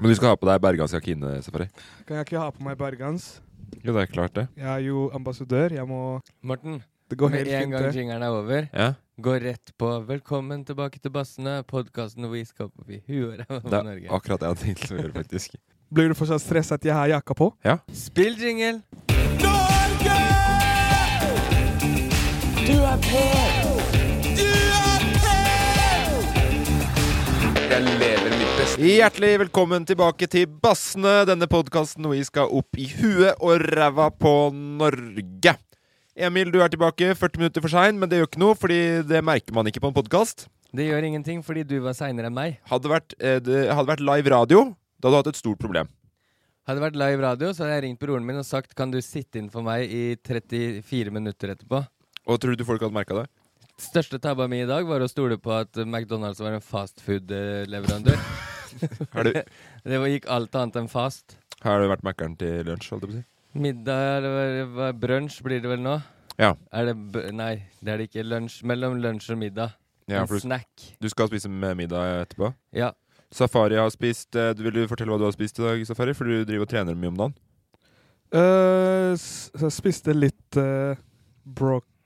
Men du skal ha på deg bergansjakke inne, Safari. Kan jeg ikke ha på meg bergans? Jo, det er klart, det. Jeg er jo ambassadør. Jeg må Morten, Det går med helt en fint, gang det. jingeren er over, Ja. gå rett på 'Velkommen tilbake til bassene', podkasten hvor vi skal forbi huet og ræva Det på er Norge. akkurat det jeg hadde tenkt å gjøre, faktisk. Blir du fortsatt stressa at jeg har jakka på? Ja. Spill jingle! Hjertelig velkommen tilbake til Bassene, denne podkasten hvor vi skal opp i huet og ræva på Norge. Emil, du er tilbake 40 minutter for sein, men det gjør ikke noe, fordi det merker man ikke på en podkast. Det gjør ingenting, fordi du var seinere enn meg. Hadde, vært, eh, det hadde vært live radio, da hadde du hatt et stort problem. Hadde det vært live radio, så hadde jeg ringt broren min og sagt 'Kan du sitte inn for meg i 34 minutter etterpå'? Og tror du folk hadde merka det? Største tabba mi i dag var å stole på at eh, McDonald's var en fastfood-leverandør. Har du, Det var- gikk alt annet enn fast. har du vært Mækkern til lunsj? holdt jeg på å si? Middag eller hva- hva- brunsj blir det vel nå? Ja. Er det b Nei, det er det ikke. Lunsj. Mellom lunsj og middag. ja en for du, snack. du skal spise med middag etterpå. Ja. Safari har spist eh, du- Vil du fortelle hva du har spist i dag, Safari? For du driver og trener mye om dagen. Eh, s- så jeg spiste litt eh,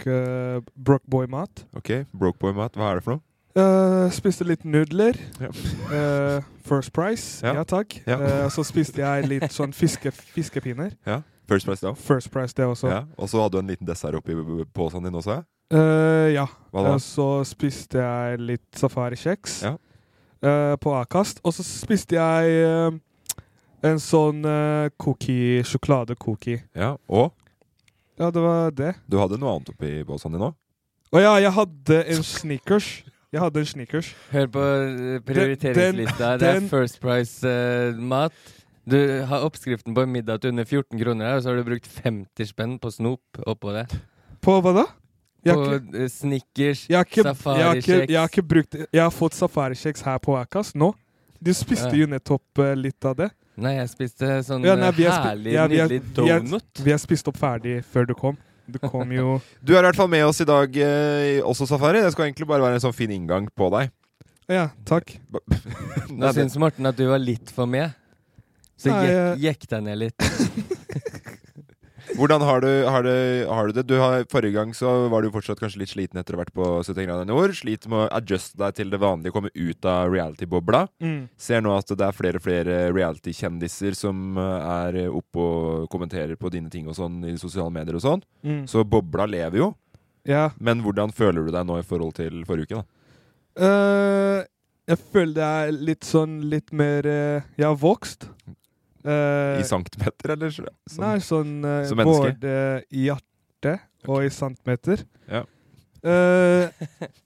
uh, Brockboy-mat. Ok, Brokeboy-mat, hva er det for noe? Eh, spiste litt nudler. Ja. Eh, first Price. Ja. Ja, takk. Ja. Eh, så spiste jeg litt sånn fiske, fiskepinner. First Price Down. First Price, det også. Ja, og så hadde du en liten dessert oppi posen din også? ja? Eh, ja. Hva da? Og så spiste jeg litt safarikjeks Ja. eh, på Akast. Og så spiste jeg eh, en sånn eh, cookie, sjokoladecookie. Ja, Og Ja, det var det. du hadde noe annet oppi posen din òg? Å ja, jeg hadde en sneakers. Jeg hadde en sneakers. Hør på eh, prioriteringslista. Den- Det er den- First Price-mat. du har oppskriften på en middag til under 14 kroner her, og så har du brukt 50 spenn på snop oppå det. På hva da? Jeg På har ikke, eh, Snickers, jeg har ikke, jeg har ikke, jeg har safarikjeks. ikke brukt Jeg har fått safarikjeks her på Akast nå. De spiste Ja. jo nettopp eh, litt av det. Nei, jeg spiste sånn Ja, nei, eh, vi har spi- herlig, ja, vi har- nydelig vi har- donut. Vi har spist opp ferdig før du kom. Du kom jo Du er i hvert fall med oss i dag, eh, også Safari. Det skal egentlig bare være en sånn fin inngang på deg. Ja, takk. Nå syns Morten at du var litt for med, så Nei, jekk, jekk deg ned litt. Hvordan har du, har, du, har du det? Du har, forrige gang så var du fortsatt kanskje litt sliten etter å ha vært på 71 grader nord. Sliter med å adjuste deg til det vanlige, komme ut av reality-bobla. Mm. Ser nå at det er flere og flere reality-kjendiser som eh, er oppe og kommenterer på dine ting og sånn i sosiale medier og sånn. Mm. Så bobla lever jo. Ja. Men hvordan føler du deg nå i forhold til forrige uke? da? Eh, jeg føler det er litt sånn litt mer eh, Jeg har vokst. Eh, I centimeter, eller? så- Sånn. Nei, sånn eh, Som menneske? Både i hjertet og i centimeter. Ja. Eh,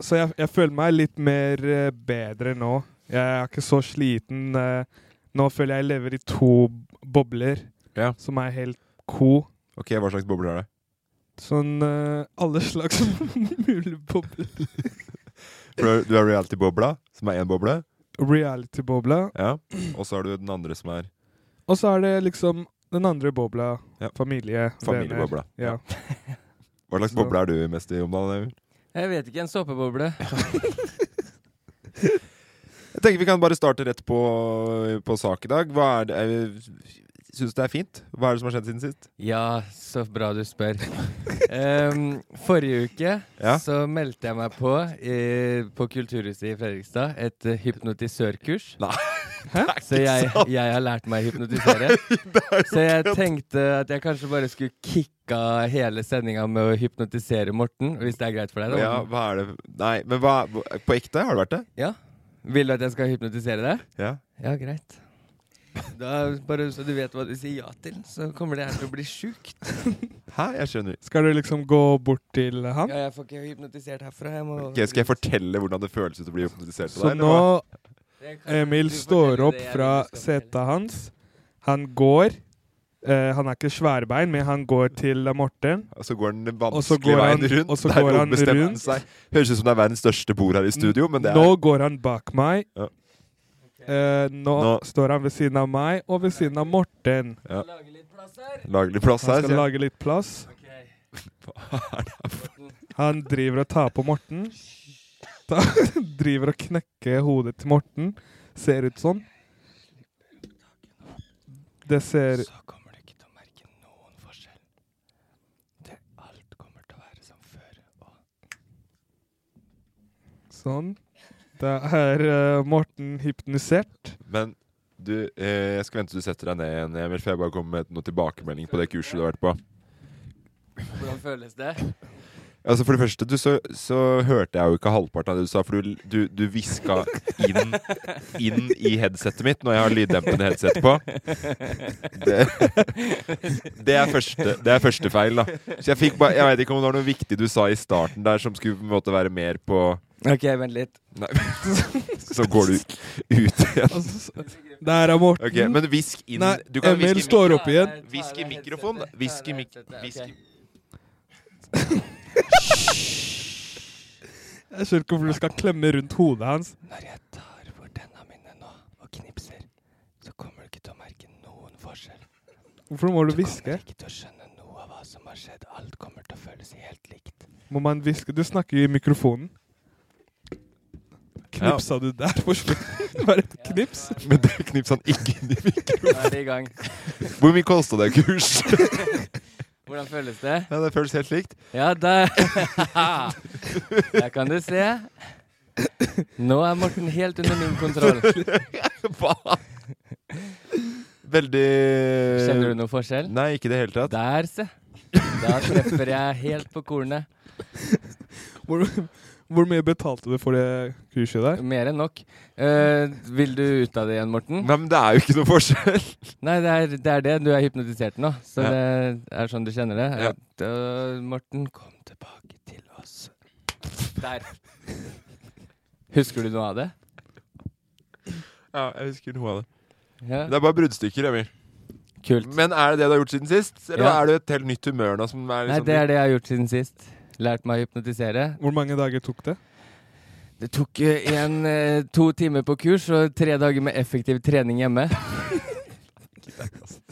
så jeg, jeg føler meg litt mer eh, bedre nå. Jeg er ikke så sliten. eh. nå føler jeg jeg lever i to bobler Ja. som er helt co. Ok, hva slags bobler er det? Sånn eh, alle slags mulige bobler. For du har reality-bobla, som er én boble. reality-bobla. Ja. Og så har du den andre som er Og så er det liksom den andre bobla. Ja. Familie, venner. familiebobla. Ja. Hva slags Så- boble er du mest i om dagen? Emil? Jeg vet ikke. En såpeboble. Jeg tenker vi kan bare starte rett på, på sak i dag. Hva er det Syns du det er fint? Hva er det som har skjedd siden sist? Ja, så bra du spør. Em, forrige uke Ja. så meldte jeg meg på i, på Kulturhuset i Fredrikstad. Et eh, hypnotisørkurs. Nei, Så jeg, jeg har lært meg å hypnotisere. Så jeg tenkte at jeg kanskje bare skulle kicka hele sendinga med å hypnotisere Morten. Hvis det er greit for deg, Ja, da. hva er det Nei, men hva På ekte? Har det vært det? Ja. Vil du at jeg skal hypnotisere deg? Ja. Ja, greit. Da bare Så du vet hva du sier ja til, så kommer det her til å bli sjukt. Hæ? Jeg skjønner. Skal du liksom gå bort til han? Ja, jeg får ikke hypnotisert herfra. Jeg må Ok, skal jeg fortelle hvordan det føles ut å bli hypnotisert? av Så deg, eller hva? nå Det kan- Emil du står forteller opp det jeg fra vil du skal fortelle. seta hans. Han går. Eh, han er ikke sværbein, men han går til Morten. Og så går den den Og så vanskelige går han- veien rundt. og så der går han ombestemte rundt. Seg. Høres ut som det er verdens største bord her i studio, men det er Nå går han bak meg. Ja. Eh, nå, Nå- står han ved siden av meg og ved siden av Morten. Lage litt plass her. Lager litt plass Han her. skal sier jeg. lage litt plass. Ok. Han driver og tar på Morten. Ta, driver og knekker hodet til Morten. Ser ut sånn. Det ser så kommer du ikke til å merke noen forskjell. Det alt kommer til å være som før. Og sånn. Da er eh, Morten hypnotisert. Men du, eh, jeg skal vente til du setter deg ned igjen, Emil, for jeg bare kommer med noen tilbakemelding på det kurset du har vært på. hvordan føles det? Altså For det første, du, så, så hørte jeg jo ikke halvparten av det du sa, for du, du, du hviska inn, inn i headsetet mitt når jeg har lyddempende headset på. Det, det, er første, det er første feil, da. Så jeg fikk bare Jeg veit ikke om det var noe viktig du sa i starten der som skulle på en måte være mer på Ok, vent litt. Nei, så går du ut igjen. Altså, s- Der er Morten. Ok, men hvisk inn Nei, Du kan Emil hviske i står opp igjen. Hvisk i mikrofonen, da. Hvisk i mik- hvisk i- Jeg skjønner ikke hvorfor du skal klemme rundt hodet hans. Når jeg tar bort tennene mine nå og knipser, så kommer du ikke til å merke noen forskjell. Hvorfor må du Du hviske? kommer ikke til å skjønne noe av hva som har skjedd. Alt kommer til å føles helt likt. Må man hviske? Du snakker jo i mikrofonen. Knipsa du der på slutten? Bare et knips? Men det knipset han ikke inn i mikrofonen. Nå er vi i gang. Hvor mye kosta det kurs? Hvordan føles det? Ja, det føles helt likt. Ja, der Der kan du se. Nå er Morten helt under min kontroll. Veldig Kjenner du noe forskjell? Nei, ikke i det hele tatt. Der, se. Da treffer jeg helt på kornet. Hvor, hvor mye betalte du for det kurset der? Mer enn nok. Eh, vil du ut av det igjen, Morten? Nei, men det er jo ikke noe forskjell. Nei, det er det. Er det. Du er hypnotisert nå, så Ja. det er sånn du kjenner det. Ja. At, øh, Morten, kom tilbake til oss. Der. Husker du noe av det? Ja, jeg husker noe av det. Ja. Det er bare bruddstykker, Emil. Kult. Men er det det du har gjort siden sist? Eller Ja. er du et helt nytt humør nå? Som er Nei, liksom det er det jeg har gjort siden sist. Lært meg å hypnotisere. Hvor mange dager tok det? Det tok eh, en, eh, to timer på kurs og tre dager med effektiv trening hjemme.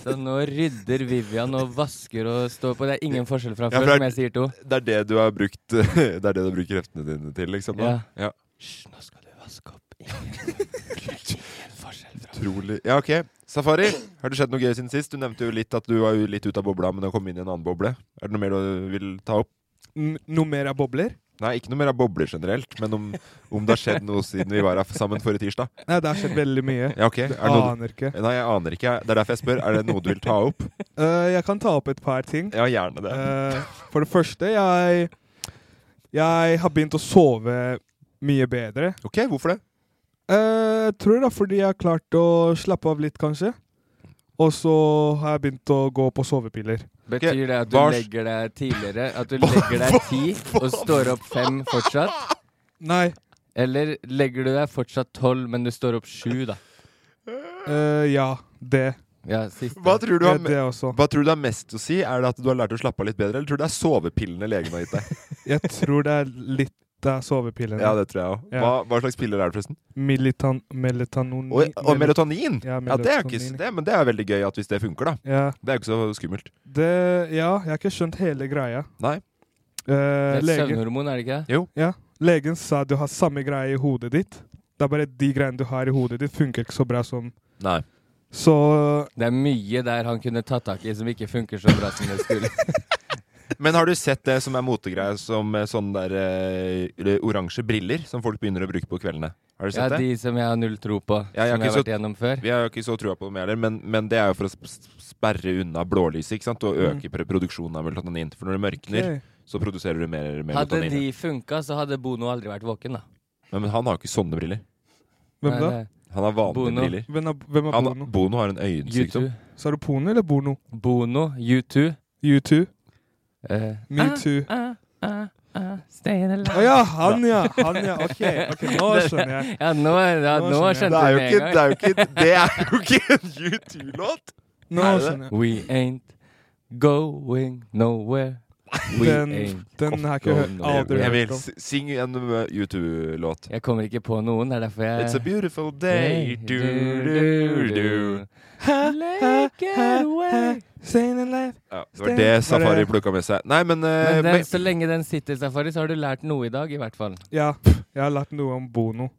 Så nå rydder Vivian og vasker og står på. Det er ingen forskjell fra Ja, før, for det er- som jeg sier to. det er det du har brukt Det er det du bruker kreftene dine til, liksom? da? ja. Hysj, nå skal du vaske opp. Ingen, ingen forskjell fra Utrolig. Ja, ok. Safari, har det skjedd noe gøy siden sist? Du nevnte jo litt at du var jo litt ute av bobla, men du har kommet inn i en annen boble. Er det noe mer du vil ta opp? N noe mer av bobler? Nei, ikke noe mer av bobler generelt, men om, om det har skjedd noe siden vi var her sammen forrige tirsdag. Nei, det har skjedd veldig mye. Ja, ok. Er det noe du... Aner ikke. Nei, jeg aner ikke. Det er derfor jeg spør. Er det noe du vil ta opp? Eh, jeg kan ta opp et par ting. Ja, gjerne det. Eh, for det første, jeg Jeg har begynt å sove mye bedre. Ok, hvorfor det? Eh, Jeg tror det er fordi jeg har klart å slappe av litt, kanskje. Og så har jeg begynt å gå på sovepiller. Betyr det at du Bars- legger deg tidligere? At du legger deg ti og står opp fem fortsatt? Nei. Eller legger du deg fortsatt tolv, men du står opp sju, da? eh, ja, det. Ja, siste. Hva tror du Det, har, me- det også. hva tror du har mest å si? Er det at du har lært å slappe av litt bedre, eller tror du det er sovepillene legen har gitt deg? Jeg tror det er litt Det er sovepillene. Ja, det tror jeg òg. Ja. Hva, hva slags piller er det, forresten? Militan, melatonin Og, og melatonin! Ja, Ja, det er jo ikke, s- melatonin. det, men det er jo veldig gøy at hvis det funker, da. Ja, Det er jo ikke så skummelt. det, ja, jeg har ikke skjønt hele greia. Nei. Eh, Det er et legen, søvnhormon, er det ikke? ja, legen sa du har samme greie i hodet ditt. Det er bare de greiene du har i hodet ditt, funker ikke så bra som Nei. Så Det er mye der han kunne tatt tak i som ikke funker så bra som det skulle. Men har du sett det som er motegreie, som eh, sånne der eh, eller oransje briller som folk begynner å bruke på kveldene? Har du Ja, sett det? de som jeg har null tro på, Ja, jeg har som jeg har ikke så- vært gjennom før. Vi har jo ikke så trua på dem heller, men, men det er jo for å sp- sperre unna blålyset ikke sant? og Mm. øke pre- produksjonen av melatonin. For når det mørkner, Ok. så produserer du mer Hadde melatonin. de funka, så hadde Bono aldri vært våken, da. Men, men han har jo ikke sånne briller. Hvem da? Nei, Han har vanlige Bono. briller. Hvem er, hvem er Han, Bono? Bono har en det- U2. øyensykdom. Sa du Pono eller Bono? Bono, U2. U2? eh, Metoo. ah, ah, ah, staying Å alive. ja, han ja! Han ja, OK. ok, Nå skjønner jeg. Ja, nå, ja, Nå nå skjønner jeg. skjønte jeg med en gang. det er jo ikke en U2-låt! Nå Er det det? skjønner jeg. We ain't going nowhere. We Den, ain't den har jeg ikke hørt. going Aldri nowhere. hørt Emil, om. s- syng en uh, U2-låt. Jeg kommer ikke på noen, det er derfor jeg It's a beautiful day, do, do, do. Lake it away. Staying alive. Ja, det var det Safari plukka med seg. Nei, men, uh, Men men den, så lenge den sitter, Safari, så har du lært noe i dag, i hvert fall. Ja, jeg har lært noe om Bono.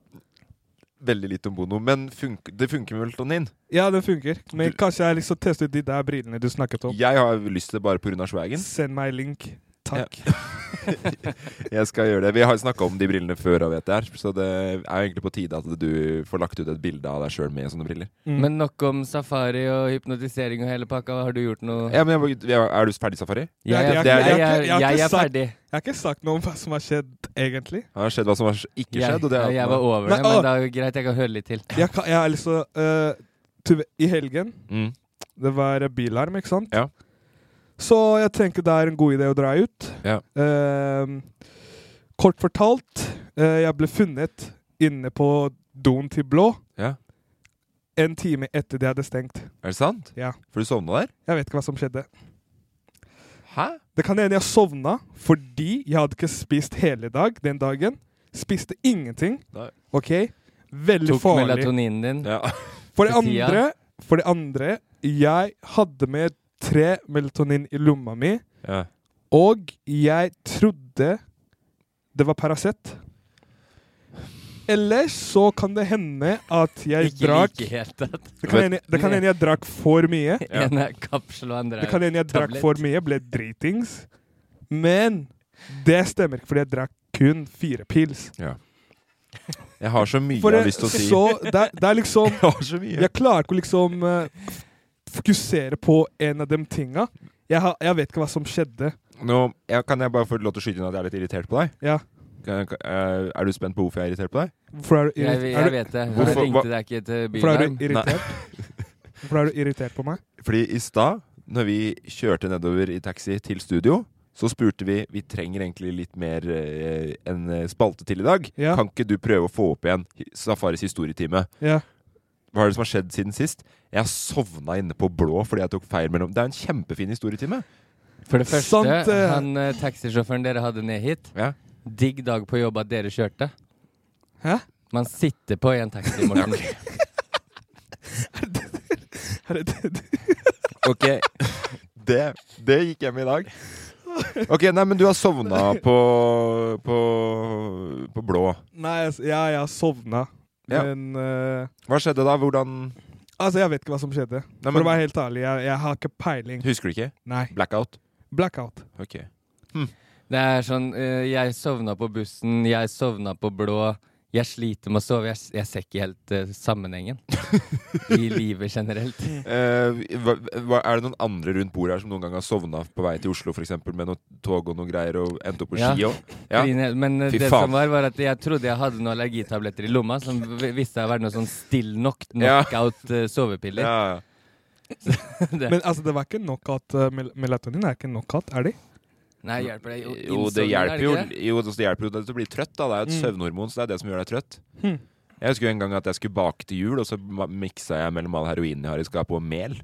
Veldig lite om Bono. Men funk, det funker med melatonin. Ja, det funker. Men Du- kanskje jeg liksom tester ut de der brillene du Oh. snakket om. Jeg har lyst til det bare pga. swagen. Send meg link. Takk. Jeg skal gjøre det. Vi har snakka om de brillene før, og vet det her, så det er jo egentlig på tide at du får lagt ut et bilde av deg sjøl med sånne briller. Mm. Men nok om safari og hypnotisering og hele pakka. Har du gjort noe? Ja, men jeg, jeg, Er du ferdig, Safari? Jeg, Jeg- er- jeg- jeg- jeg, jeg- er- jeg har ikke jeg er sagt- ferdig. Jeg har ikke sagt noe om hva som har skjedd, egentlig. Det har skjedd hva som har s- ikke Jeg, skjedd. Og det er at jeg man- var over Nei, det, å. men det er jo greit, jeg kan høre litt til. Jeg, kan, jeg har liksom øh, tu- I helgen mm. Det var bilarm, ikke sant? Ja. Så jeg tenker det er en god idé å dra ut. Ja. Ehm, kort fortalt, eh, jeg ble funnet inne på doen til Blå Ja. en time etter de hadde stengt. Er det sant? Ja. For du sovna der? Jeg vet ikke hva som skjedde. Hæ? Det kan hende jeg sovna fordi jeg hadde ikke spist hele dag den dagen. Spiste ingenting. Nei. OK? Veldig Tok farlig. melatoninen din. Ja. For det Til tida. andre, for det andre jeg hadde med tre melatonin i lomma mi. ja. Og jeg trodde det var Paracet. Ellers så kan det hende at jeg Ikke drakk like helt at Det kan hende, det kan hende jeg drakk for mye. Ja. en er kapsel og andre Det kan er hende jeg drakk Tablett. for mye, ble dritings. Men det stemmer ikke, fordi jeg drakk kun fire pils. Jeg har så mye For jeg har det, lyst til å si. så det, er- det er liksom Jeg har så mye. Jeg klarer ikke å liksom eh, f- fokusere på en av de tinga. Jeg, har- jeg vet ikke hva som skjedde. Nå jeg, Kan jeg bare få lov til å skyte inn at jeg er litt irritert på deg? Ja. Kan, kan, eh, er du spent på hvorfor jeg er irritert på deg? Hvorfor er du Jeg, irrit- er jeg du- vet det. Jeg Hvorfor- ringte hva- deg ikke til Hvorfor er bilen. du irritert? Hvorfor er du irritert på meg? Fordi i stad, når vi kjørte nedover i taxi til studio, så spurte vi Vi trenger egentlig litt mer eh, en eh, spalte til i dag. Ja. Kan ikke du prøve å få opp igjen hi- Safaris historietime? Ja. Hva er det som har skjedd siden sist? Jeg sovna inne på blå fordi jeg tok feil mellom Det er en kjempefin historietime. For det første, Sant, eh. han eh, taxisjåføren dere hadde ned hit, Ja. digg dag på jobb at dere kjørte. Hæ? Man sitter på en taxi, Morten. Er det det du- Ok, det, det gikk hjem i dag. Ok, nei, men du har sovna på, på, på blå. Nei, altså, ja, jeg har sovna. Ja. Men eh, Hva skjedde da? Hvordan Altså, jeg vet ikke hva som skjedde. Nei, For men- å være helt ærlig, jeg, jeg har ikke peiling. Husker du ikke? Nei. Blackout? Blackout. Ok. Det er sånn eh, Jeg sovna på bussen, jeg sovna på blå. Jeg sliter med å sove. Jeg, s- jeg ser ikke helt eh, sammenhengen i livet generelt. Eh, hva, hva, er det noen andre rundt bordet her som noen gang har sovna på vei til Oslo for eksempel, med noe tog og noe greier og endt opp på Ja. ski òg? Ja. Fordi- Men eh, Fy det faen. som var, var at jeg trodde jeg hadde noen allergitabletter i lomma som v- viste seg å være noe sånn still knock, Ja. knockout eh, sovepiller. Ja, ja. Det- Men altså, det var ikke knockout. eh, mel melatonin er ikke knockout, er de? Nei, hjelper det? Jo, Jo, det innsovning, er hjelper jo ikke det? Mm. Jo, det hjelper jo til å bli trøtt. da Det er jo et søvnhormon, så det er det som gjør deg trøtt. Hm. Hmm. Jeg husker jo en gang at jeg skulle bake til jul, og så ma- miksa jeg mellom all heroinen jeg har i skapet, og mel.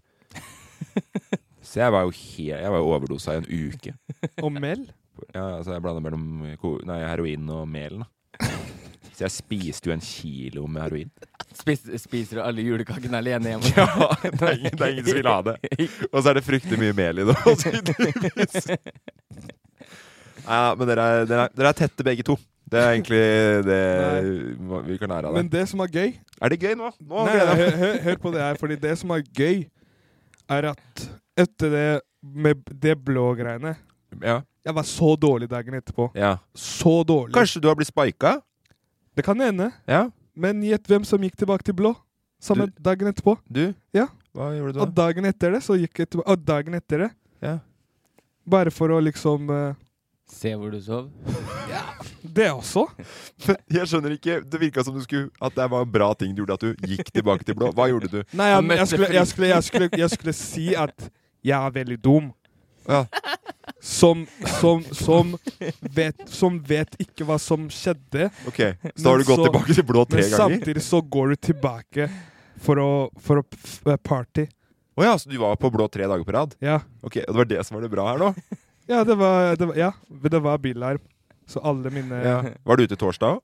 Så jeg var jo he- jeg var jo overdosa i en uke. Og mel? Ja, ja, så jeg blanda mellom ko nei, heroin og mel. Da. Så jeg spiste jo en kilo med heroin. Spis, spiser du alle julekakene alene hjemme? Ja, det er ingen, det er ingen som vil ha det. Og så er det fryktelig mye mel i det. også, tydeligvis. Nei, ja, men dere er, dere, er, dere er tette begge to. Det er egentlig det vi kan lære av Men deg. det som er gøy Er det gøy nå? Nå Nei, gleder jeg meg. hør, hør, hør på det her, fordi det som er gøy, er at etter det med det blå greiene Ja, Jeg var så dårlig dagen etterpå. ja. Så dårlig. Kanskje du har blitt spika? Det kan hende. Ja. Men gjett hvem som gikk tilbake til blå samme dagen etterpå. Du? Ja. Hva gjorde du Og da? dagen etter det, så gikk jeg tilbake. Og dagen etter det. Ja. Bare for å liksom eh, Se hvor du sov. Det også. Jeg skjønner ikke. Det virka som du skulle At det var en bra ting du gjorde, at du gikk tilbake til blå. Hva gjorde du? Nei, Han jeg, jeg, møtte skulle, Frid. jeg, skulle, jeg, skulle, jeg skulle si at jeg er veldig dum. Ja. Som, som, som, vet, som vet ikke hva som skjedde. Ok, Så har du Men gått så- tilbake til blå tre Men ganger? samtidig så går du tilbake for å, for å f- eh, party. Å ja, så du var på blå tre dager på rad? Ja, Ok, Og det var det som var det bra her nå? ja det var, det var, ja, det var bilarm. Så alle mine Ja. Var du ute torsdag òg?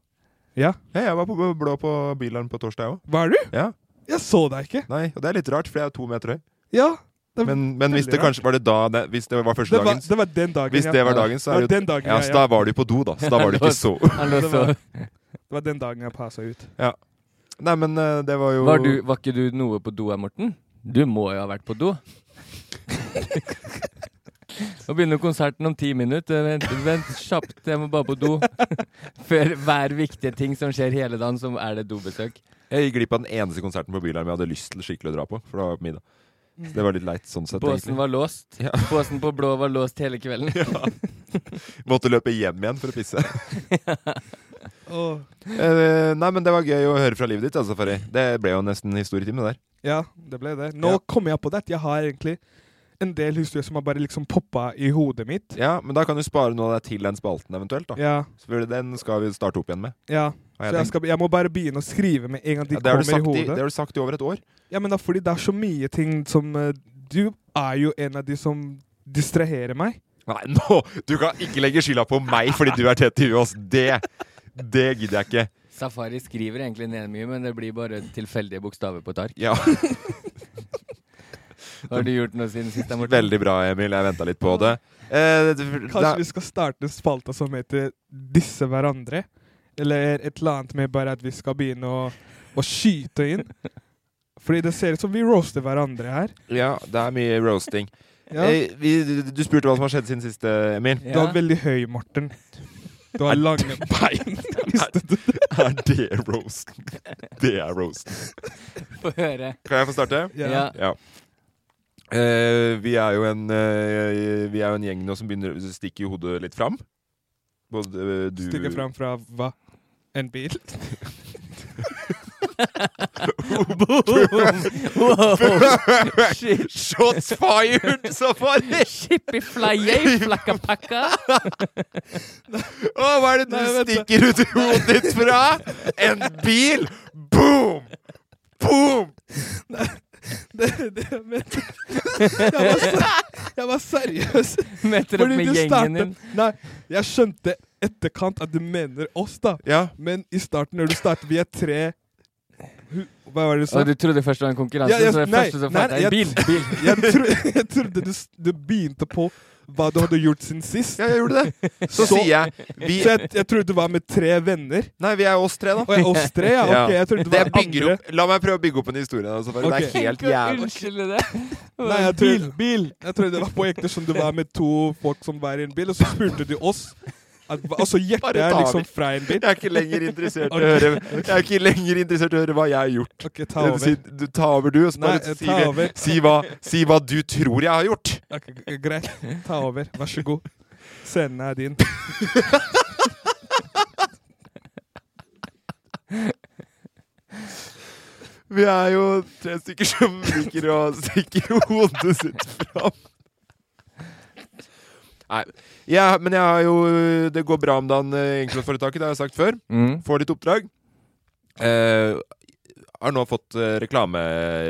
Ja. Ja, jeg var på på blå på bilen på torsdag òg. Var du? Ja. Jeg så deg ikke. Nei, og det er litt rart, for jeg er to meter høy. Ja. Det, Men, men hvis veldig det rart. kanskje var det da det, Hvis det var første det, var, dagen det var den dagen. Hvis ja. det var dagen, så er det Det var jo den dagen, Ja, ja, så ja. da var du på do, da. Så da var du ikke så Han lå og Det var- sov. Det var den dagen jeg passa ut. Nei, men eh, det var jo Var, du, var ikke du noe på do her, Morten? Du må jo ha vært på do. Nå begynner konserten om ti minutter. Vent, vent kjapt, jeg må bare på do. Før hver viktige ting som skjer hele dagen, så er det dobesøk. Jeg gikk glipp av den eneste konserten på Bylarm jeg hadde lyst til skikkelig å dra på. For det var på middag. Så det var litt leit sånn sett. Båsen egentlig. var låst. Ja. Båsen på blå var låst hele kvelden. Måtte løpe hjem igjen for å pisse. Åh. Eh, nei, men det var gøy å høre fra livet ditt, altså, Farri. Det ble jo nesten historietime, det der. Ja, det ble det. Nå Ja. kommer jeg på det at jeg har egentlig en del historier som har bare liksom poppa i hodet mitt. Ja, men da kan du spare noe av deg til den spalten eventuelt, da. Ja, Selvfølgelig, den skal vi starte opp igjen med. ja. har Så jeg jeg, tenkt. skal, jeg må bare begynne å skrive med en gang de Ja, det, har du kommer i sagt i, hodet. det har du sagt i over et år. Ja, men da fordi det er så mye ting som eh, Du er jo en av de som distraherer meg. Nei, nå! Du kan ikke legge skylda på meg fordi du er tett i huet, ass. Det, det gidder jeg ikke. Safari skriver egentlig ned mye, men det blir bare tilfeldige bokstaver på et ark. Ja, Har du gjort noe siden sist, da, Morten? Veldig bra, Emil. Jeg venta litt på det. Eh, det- Kanskje det- vi skal starte en spalte som heter 'Disse hverandre'? Eller et eller annet med bare at vi skal begynne å, å skyte inn. Fordi det ser ut som vi roaster hverandre her. ja, det er mye roasting. Ja. Eh, vi, du spurte hva som har skjedd siden sist, eh, Emil. Du Ja. er veldig høy, Morten. Du har lange bein. Visste du det? Er det roast? Det er roast. Få høre. Kan jeg få starte? Ja. Ja. Eh, vi, er jo en, eh, vi er jo en gjeng nå som begynner å stikke i hodet litt fram. Både eh, du Stikker fram fra hva? En bil? Wow! Shit. Shots fired, safari! Chippy flyer, flakkapakka. Å, hva er det du Nei, vent da. stikker ut i hodet ditt fra? En bil! Boom! Boom! Det, det, jeg mente jeg var, ser- jeg var seriøs. Møter opp med gjengen din. Nei, jeg skjønte etterkant at du mener oss, da. Ja. Men i starten, når du startet Vi er tre hu- Hva var det du sa? Og du trodde først det var en konkurranse, Ja, jeg- så det nei, første som nei, fant deg, jeg- bil, bil. Jeg, tro, jeg trodde du, s- du begynte på hva du hadde gjort siden sist. ja, jeg gjorde det. Så, Så- sier jeg vi, Så jeg, jeg trodde du var med tre venner. Nei, vi er oss tre, da. Og jeg, oss tre, ja. Ok, jeg trodde det Det var bygger andre. opp, la meg prøve å bygge opp en historie. da, Safari. Ok. Det er helt Tenk å jævlig. Unnskylde det. Nei, jeg tror, bil, bil! Jeg trodde det var på ekte som du var med to folk som var i en bil, og så spurte du oss. At, hva- altså hjertet Bare er ta liksom over. fra en bil. Jeg er ikke lenger interessert i å høre Jeg er ikke lenger interessert i å høre hva jeg har gjort. Ok, ta over. Si, du, ta over, du. Og så Nei, bare si, ta over. si, hva, si hva du tror jeg har gjort. Ok, g- greit. Ta over. Vær så god. Scenen er din. Vi er jo tre stykker som liker å stikke hodet sitt fram. Nei. Ja, men jeg har jo Det går bra om dagen, eh, enkeltmannsforetaket. Det har jeg sagt før. Mm. Får litt oppdrag. Eh, har nå fått eh, reklame,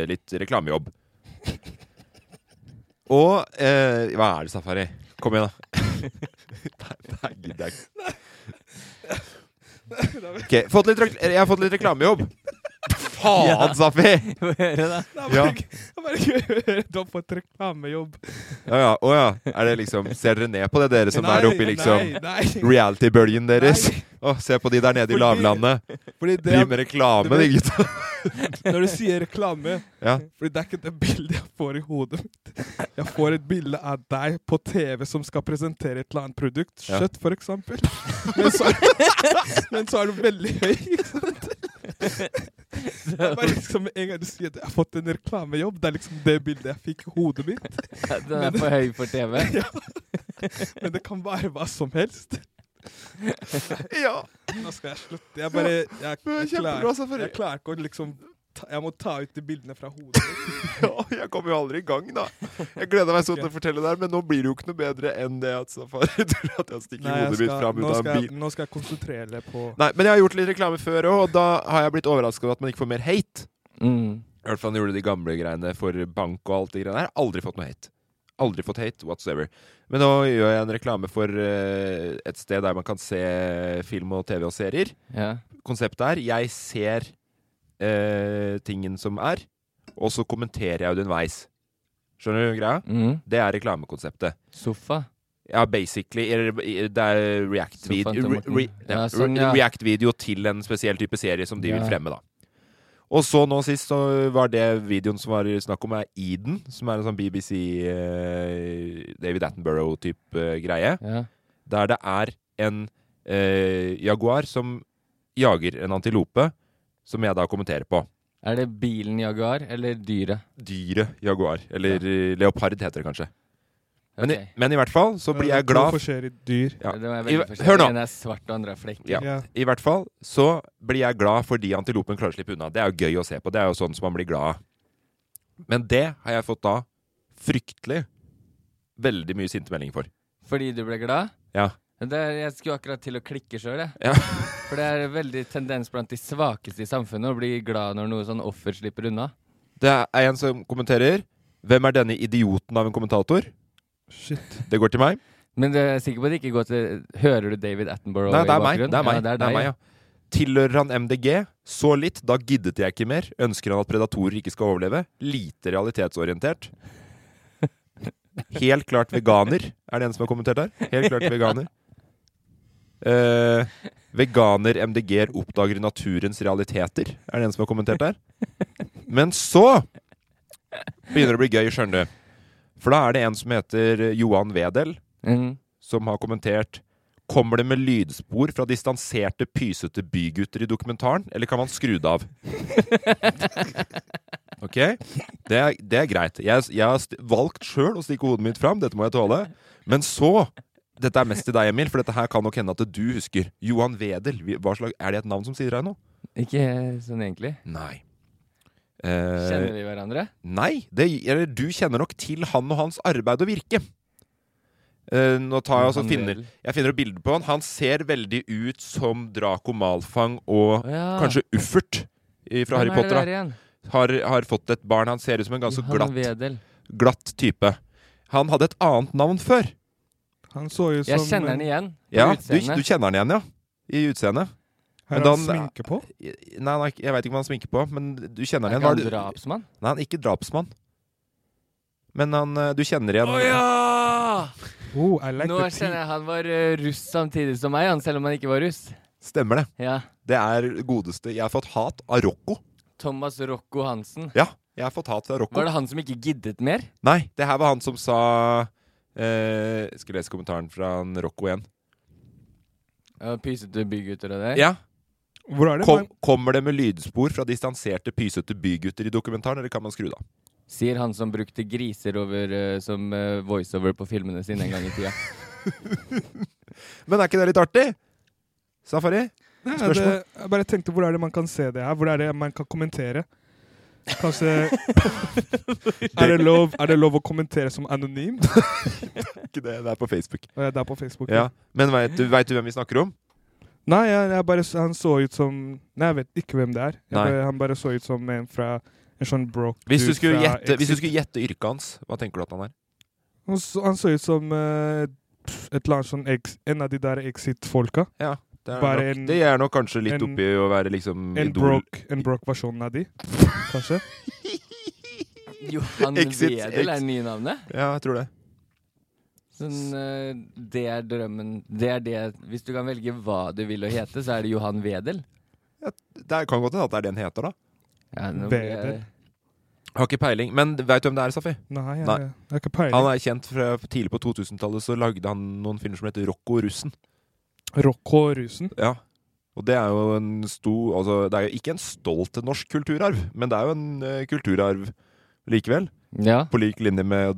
litt reklamejobb. Og eh, Hva er det, Safari? Kom igjen, da. her gidder jeg ikke. Ok, fått litt rekl- jeg har fått litt reklamejobb. Faen, Safi! Få høre, da. Det er Ja. bare gøy- det er bare gøy. Du har fått reklamejobb. Å ja, å ja. Er det liksom, ser dere ned på det, dere som er oppi liksom Nei, nei. reality-bølgen deres? Å, se på de der nede i Fordi- lavlandet. Fordi det Driver er, med reklame, de gutta. når du sier reklame Ja. Fordi det er ikke det bildet jeg får i hodet mitt. Jeg får et bilde av deg på TV som skal presentere et eller annet produkt. Ja. Kjøtt, for eksempel. Men så, men så er du veldig høy, ikke sant? Det er bare liksom med En gang du sier at jeg har fått en reklamejobb, det er liksom det bildet jeg fikk i hodet mitt. Den er for høy for TV. Men det kan være hva som helst. ja. Nå skal jeg slutte. Jeg bare Jeg, jeg, Kjempebra, klarer, Safari. jeg klarer ikke å liksom ta, Jeg må ta ut de bildene fra hodet. mitt. Ja, jeg kommer jo aldri i gang, da. Jeg gleda meg sånn til å fortelle det her, men nå blir det jo ikke noe bedre enn det at Safari tror at jeg stikker Nei, jeg hodet mitt skal- fram ut nå av skal en jeg- bil. Nå skal jeg konsentrere meg på Nei, men jeg har gjort litt reklame før òg, og da har jeg blitt overraska over at man ikke får mer hate. Mm. I hvert fall når han gjorde de gamle greiene for bank og alt det greiene her. Aldri fått noe hate. Aldri fått hate whatsoever. Men nå gjør jeg en reklame for eh, et sted der man kan se film og TV og serier. Ja. Konseptet er jeg ser eh, tingen som er, og så kommenterer jeg underveis. Skjønner du greia? Mm. Det er reklamekonseptet. Sofa. Ja, basically. eller, eh, Det er Sofaen til React-video re, Morten. re, Ja, ja, sånn, re- ja. React-video til en spesiell type serie som de Ja. vil fremme, da. Og så nå sist så var det videoen som var snakk om, er Eden. Som er en sånn BBC eh, David Attenborough-type eh, greie. Ja. Der det er en eh, jaguar som jager en antilope, som jeg da kommenterer på. Er det bilen Jaguar eller dyret? Dyret jaguar. Eller eh, leopard heter det kanskje. Men, Ok. i, men i hvert fall så blir jeg glad To forskjellige dyr. Ja. Det var I- veldig forskjellig. Hør nå! Den er svart, og andre er flekker. Ja. I hvert fall så blir jeg glad fordi antilopen klarer å slippe unna. Det er jo gøy å se på. Det er jo sånn som man blir glad av. Men det har jeg fått da fryktelig veldig mye sinte meldinger for. Fordi du ble glad? Ja. Det er, jeg skulle akkurat til å klikke sjøl, jeg. Ja. For det er veldig tendens blant de svakeste i samfunnet å bli glad når noe sånn offer slipper unna. Det er en som kommenterer. Hvem er denne idioten av en kommentator? Shit. Det går til meg. Men det er sikker på at det ikke går til Hører du David Attenborough Nei, det i er meg. bakgrunnen? Det er meg. Ja, det er det deg, er meg ja. Tilhører han MDG? Så litt. Da giddet jeg ikke mer. Ønsker han at predatorer ikke skal overleve? Lite realitetsorientert. Helt klart veganer, er det en som har kommentert her. Helt klart veganer. Eh, veganer MDG-er oppdager naturens realiteter, er det en som har kommentert her. Men så begynner det å bli gøy, skjønner du. For da er det en som heter Johan Wedel, Mm. som har kommentert Kommer det med lydspor fra distanserte, pysete bygutter i dokumentaren, eller kan man skru det av? Ok, det er, det er greit. Jeg, jeg har st- valgt sjøl å stikke hodet mitt fram, dette må jeg tåle. Men så Dette er mest til deg, Emil, for dette her kan nok hende at du husker. Johan Wedel, vi- hva slag, er det et navn som sier deg noe? Ikke sånn egentlig. Nei. Eh, Kjenner vi hverandre? Nei, det, eller du kjenner nok til han og hans arbeid og virke. Eh, nå tar jeg, altså, Han finner, vel. jeg finner et bilde på han. Han ser veldig ut som Draco Malfang og Å ja. kanskje Uffert i- fra Harry Hvem er det Potter. der da. igjen? Har, har fått et barn. Han ser ut som en ganske Johan glatt, Wedel. glatt type. Han hadde et annet navn før. Han så ut som Jeg kjenner han igjen. på Ja, du, utseendet. du kjenner han igjen, ja. I utseendet. Har Men han da- sminke på? I- Nei, nei, jeg veit ikke hva han sminker på, men du kjenner Er han igjen. ikke Var han det- drapsmann? Nei, han er ikke drapsmann. Men han, eh, du kjenner igjen ja! Oh, I like Nå the kjenner tea. jeg han var eh, russ samtidig som meg, han, selv om han ikke var russ. Stemmer det. Ja. Det er godeste Jeg har fått hat av Rocco. Thomas Rocco Hansen. Ja, jeg har fått hat fra Rocco. Var det han som ikke giddet mer? Nei, det her var han som sa eh, Skal lese kommentaren fra han Rocco igjen. Ja, Pysete bygutter og det der? Ja. Hvor er det? Kom, man- kommer det med lydspor fra distanserte, pysete bygutter i dokumentaren, eller kan man skru det av? Sier han som brukte griser over, eh, som eh, voiceover på filmene sine en gang i tida. Men er ikke det litt artig? Safari? Nei, spørsmål? det, jeg bare tenkte, hvor er det man kan se det her? Hvor er det man kan kommentere? Kanskje er, det lov, er det lov å kommentere som anonym? Ikke det, det er på Facebook. Og jeg er der på Facebook. Ja, Men veit du, vet du hvem vi snakker om? Nei, jeg, jeg bare, han så ut som Nei, jeg vet ikke hvem det er. Jeg Nei. bare, han bare så ut som en fra en sånn broke Hvis du dude skulle fra gjette, hvis du Exit. skulle gjette yrket hans, hva tenker du at han er? Han så, han så ut som eh, et eller annet sånn ex, en av de der Exit-folka. Ja, det er, Bare nok, en- det er nok kanskje litt en- oppi å være liksom En idol. broke-versjonen av de, kanskje. Johan Exit, Wedel er det nye navnet. Ja, jeg tror det. Sånn, eh, det er drømmen. Det er det Hvis du kan velge hva du vil å hete, så er det Johan Wedel. Det kan godt hende at det er det den heter, da. Ja, nå blir jeg- Wedel. Har ikke peiling. Men veit du hvem det er, Safi? Nei, jeg, Nei. jeg har ikke peiling. Han er kjent fra tidlig på 2000-tallet, så lagde han noen filmer som heter Rocco Russen. Rocco Rusen. Ja. Og det er jo en stor Altså, det er jo ikke en stolt norsk kulturarv, men det er jo en eh, kulturarv likevel. Ja. På lik linje med å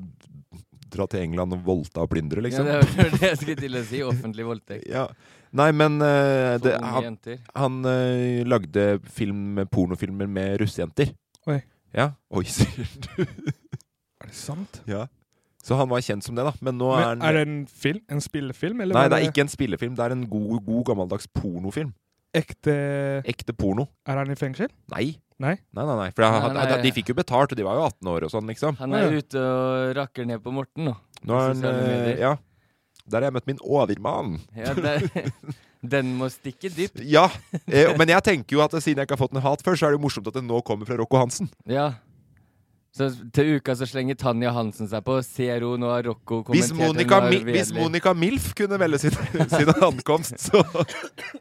dra til England og voldta og plyndre, ja, liksom. det var det jeg skulle til å si. Offentlig voldtekt. Ja. Nei, men eh, For det, unge han, jenter. han eh, lagde film, pornofilmer med russejenter. Oi. Ja. Oi, sier du. Er det sant? Ja. Så han var kjent som det, da. Men nå er Men, han er det en film? En spillefilm? Eller Nei, var det er ikke en spillefilm. Det er en god, god gammeldags pornofilm. ekte Ekte porno. Er han i fengsel? Nei. Nei. Nei, nei, nei. For jeg, Nei, nei. de fikk jo betalt, og de var jo 18 år og sånn, liksom. Han er ute og rakker ned på Morten nå. Nå er han, Sosiale medier. eh, ja. Der har jeg møtt min overmann. Ja, det, den må stikke dypt. Ja, eh, men jeg tenker jo at siden jeg ikke har fått noe hat før, så er det jo morsomt at det nå kommer fra Rocco Hansen. Ja. Så til uka så slenger Tanja Hansen seg på. Ser hun nå har Rocco Hvis kommentert Monica, hun har Mi- hvis Vedel. Monica Milf kunne melde sin, sin ankomst, så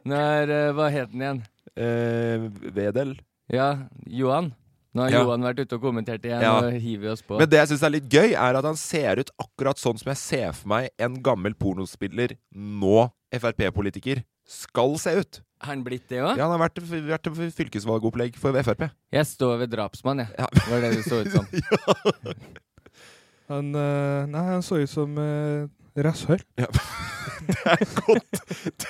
Nå er, eh, Hva het den igjen? eh, Vedel. Ja, Johan. Nå har Ja. Johan vært ute og kommentert igjen. Ja. Nå hiver vi oss på. Men det jeg syns er litt gøy, er at han ser ut akkurat sånn som jeg ser for meg en gammel pornospiller, nå Frp-politiker, skal se ut. Har han blitt det òg? Ja, han har vært, vært til fylkesvalgopplegg for Frp. Jeg står ved drapsmann, jeg. Ja. Det var det det så ut som. Han, eh, nei, han så ut som uh, rasshøl. Det er godt.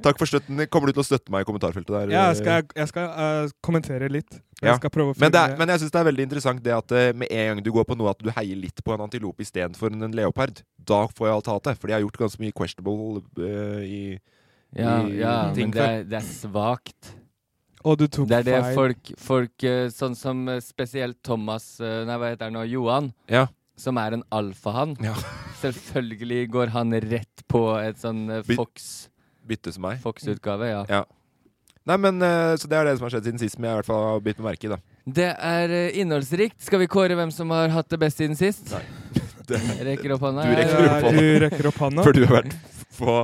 Takk for støtten. Kommer du til å støtte meg i kommentarfeltet der? Ja, jeg skal, jeg skal eh, kommentere litt. Jeg Ja, skal prøve å Men, finne det er, men jeg syns det er veldig interessant det at eh, med en gang du går på noe at du heier litt på en antilope istedenfor en leopard, da får jeg alt hatet. Fordi jeg har gjort ganske mye questionable eh, i Ja, I- ja ting men det er, det er svakt. Og du tok Det er det feil. folk, folk eh, Sånn som eh, spesielt Thomas eh, Nei, hva heter han nå? Johan. Ja. Som er en alfahann. Ja. Selvfølgelig går han rett på et sånn eh, By- Fox- Bytte som meg. Fox-utgave, ja. Ja. Nei, men eh, Så det er det som har skjedd siden sist, som jeg i hvert fall har bitt meg merke i. da Det er eh, innholdsrikt. Skal vi kåre hvem som har hatt det best siden sist? Nei. Det- Jeg rekker opp hånda. Du Jeg rekker opp er hånda. ja, du rekker opp handa. Før du har vært på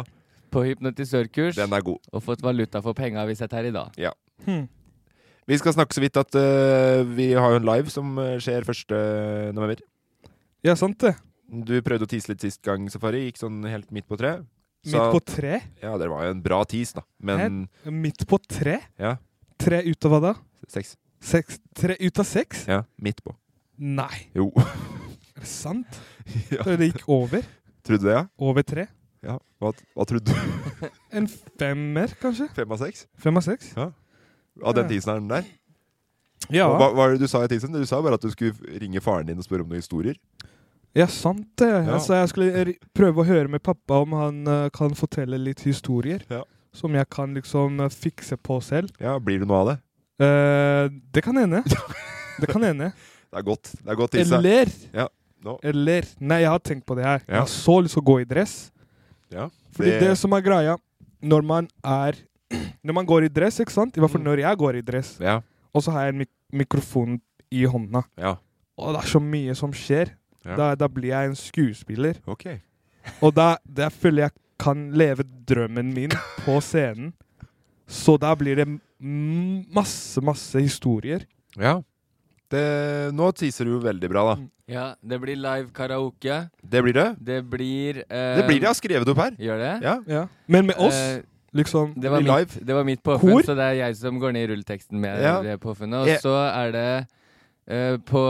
På hypnotisørkurs Den er god. og fått valuta for penga vi setter her i dag. Hmm. Vi skal snakke så vidt at eh, vi har jo en live som eh, skjer 1. november. Ja, sant det. Du prøvde å tease litt sist gang, Safari. Gikk sånn helt midt på treet. Midt på tre? Ja, det var jo en bra tease, da. Men Midt på tre? Ja. Tre ut av hva da? seks. Seks? Tre ut av seks? Ja, midt på. Nei, Jo. er det sant? Ja. Så det gikk over? Trodde du det, ja? Over tre? ja. Hva, hva trodde du? En femmer, kanskje? Fem av seks? Fem av seks? Av den Ja. teaseren der? Ja. Hva, hva var det du sa i teaseren? Du sa bare at du skulle ringe faren din og spørre om noen historier. ja, sant det. Ja. Altså, jeg skulle r- prøve å høre med pappa om han eh, kan fortelle litt historier. Ja. Som jeg kan liksom eh, fikse på selv. Ja, blir det noe av det? Eh, det kan hende. Det kan hende. Det er godt. Det er godt teasa. Eller Ja, nå. Eller Nei, jeg har tenkt på det her. Ja. Jeg har så lyst til å gå i dress. Ja, Fordi det- det, som er greia når man er Når man går i dress, ikke sant? I hvert fall Mm. når jeg går i dress, Ja. og så har jeg en mik mikrofon i hånda, ja. og det er så mye som skjer, Ja. da, da blir jeg en skuespiller. Ok. Og da, da føler jeg kan leve drømmen min på scenen. Så da blir det m- masse, masse historier. Ja. Det, nå teaser du jo veldig bra, da. Ja, det blir live karaoke. Det blir det. Det blir eh, Det blir det. Jeg har skrevet opp her. Gjør det? Ja. Ja. Men med oss, Eh, liksom det, var blir mitt, live. det var mitt påfunn, Kor? så det er jeg som går ned i rulleteksten med Ja. det påfunnet. Og Jeg- så er det eh, på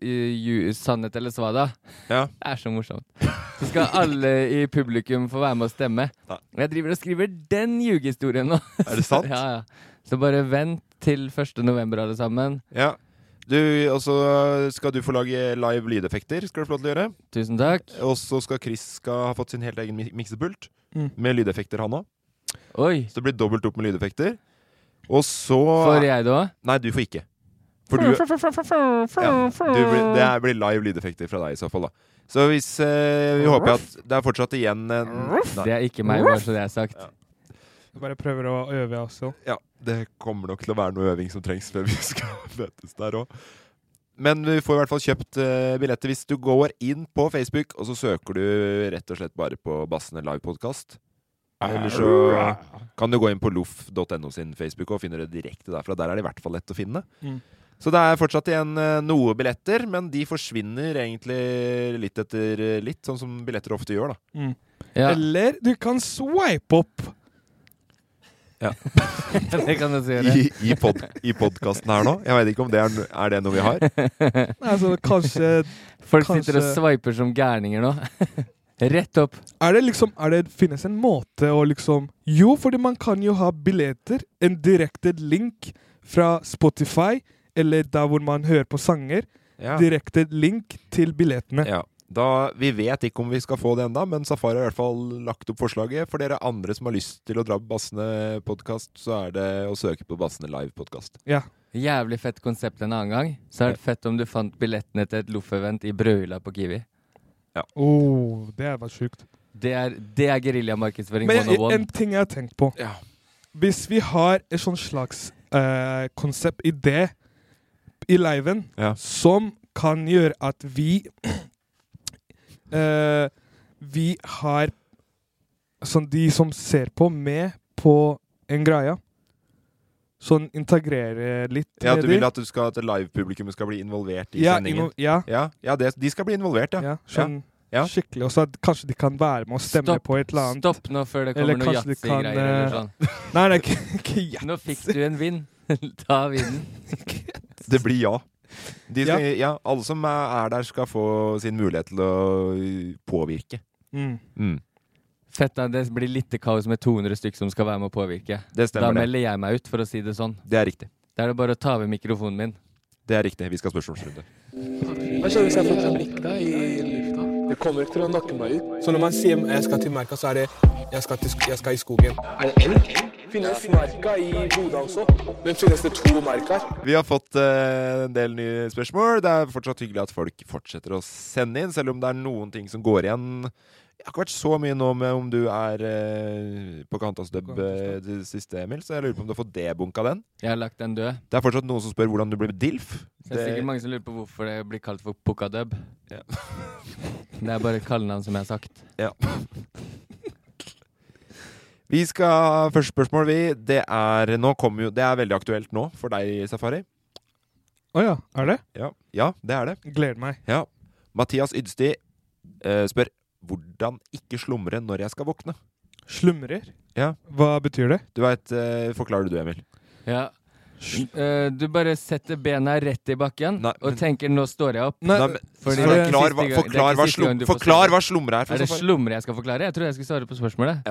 eh, ju, Sannhet eller svada. Ja. Det er så morsomt. Så skal alle i publikum få være med og stemme. Ja. Og jeg driver og skriver den ljugehistorien nå. Er det sant? ja, ja. Så bare vent til 1. november, alle sammen. Ja. Du, og så skal du få lage live lydeffekter, skal du få lov til å gjøre. Tusen takk. Og så skal Chris skal ha fått sin helt egen mi- miksepult, Mm. med lydeffekter, han òg. Oi, Så det blir dobbelt opp med lydeffekter. Og så får jeg det òg? Nei, du får ikke. For du, ja, du blir, det er- blir live lydeffekter fra deg i så fall, da. Så hvis eh, Vi håper at det er fortsatt igjen en Det er ikke meg, bare så det er sagt. Jeg bare prøver å øve, jeg også. Ja, det kommer nok til å være noe øving som trengs før vi skal møtes der òg. Men vi får i hvert fall kjøpt eh, billetter hvis du går inn på Facebook, og så søker du rett og slett bare på Bassene live podkast. Eller så kan du gå inn på loff.no sin Facebook og finne det direkte derfra. Der er det i hvert fall lett å finne. Mm. Så det er fortsatt igjen eh, noe billetter, men de forsvinner egentlig litt etter litt, sånn som billetter ofte gjør, da. Ja, Eller du kan swipe opp. det kan du si. I, i, pod, i podkasten her nå. Jeg veit ikke om det er, er det noe vi har. Altså, kanskje Folk sitter og Kanskje- sveiper som gærninger nå. Rett opp. Er det liksom er det, Finnes en måte å liksom Jo, fordi man kan jo ha billetter. En direkte link fra Spotify, eller der hvor man hører på sanger. Direkte link til billettene. Ja. Da, vi vet ikke om vi skal få det enda, men Safari har i hvert fall lagt opp forslaget. For dere andre som har lyst til å dra på Bassene podkast, så er det å søke på Bassene live podkast. Ja. Jævlig fett konsept en annen gang. Så er det fett om du fant billettene til et loffevent i brødhylla på Kiwi. Oh, det var sjukt. Det er, det er geriljamarkedsføring Men jeg, 101. en ting jeg har tenkt på. Ja. Hvis vi har et sånn slags eh, konsept, idé, i liven Ja. som kan gjøre at vi eh, Vi har sånn de som ser på, med på en greie. Sånn integrere litt Ja, med du de. vil at, du skal, at livepublikummet skal bli involvert i ja, sendingen? inno- ja, Ja, ja det, de skal bli involvert, ja. ja, sånn Ja. skikkelig. Og så at kanskje de kan være med og stemme Stopp. på et eller annet. Stopp nå før det Eller kommer noe kanskje du kan, eh, yatzy-greier eller sånn. Nei, nei, ikke, ikke ja. Nå fikk du en vinn. Ta vinden. Det blir ja. De Ja. skal, ja. alle som er er der, skal få sin mulighet til å ø, påvirke. Mm. Fett, da, det blir litt kaos med 200 stykk som skal være med å påvirke. Det Da stemmer, det. melder jeg meg ut, for å si det sånn. Det er riktig. Da er det bare å ta ved mikrofonen min. Det er riktig. Vi skal ha spørsmålsrunde. Så når man sier 'jeg skal til merka', så er det 'jeg skal, til, sk- jeg skal i skogen'. Er det elg? Finnes merka i Bodø også? Men finnes det to merker? Vi har fått eh, en del nye spørsmål. Det er fortsatt hyggelig at folk fortsetter å sende inn, selv om det er noen ting som går igjen. Det har ikke vært så mye nå med om du er eh, på Kantas dub eh, det siste, Emil, så jeg lurer på om du har fått debunka den. Jeg har lagt den død. Det er fortsatt noen som spør hvordan du ble DILF. Så det er sikkert mange som lurer på hvorfor det blir kalt for Pukadub. Ja. det er bare et kallenavn, som jeg har sagt. Ja. Vi skal ha første spørsmål, vi. Det er, nå kommer jo, det er veldig aktuelt nå for deg, Safari. Å ja, er det? Ja, ja det er det. Gleder meg. Ja. Mathias Ydsti eh, spør hvordan ikke slumre når jeg skal våkne. Slumrer? Ja. Hva betyr det? Du vet, eh, Forklarer du, Emil? Ja. Eh, du bare setter bena rett i bakken Nei, men- og tenker 'nå står jeg opp'. Nei, Nei, men- Fordi det er det er Forklar, siste hva, gang- det er forklar, ikke hva, siste gang slum, du får forklar svare. hva slumre er. Er For det så fall. slumre jeg skal forklare? Jeg tror jeg skulle svare på spørsmålet.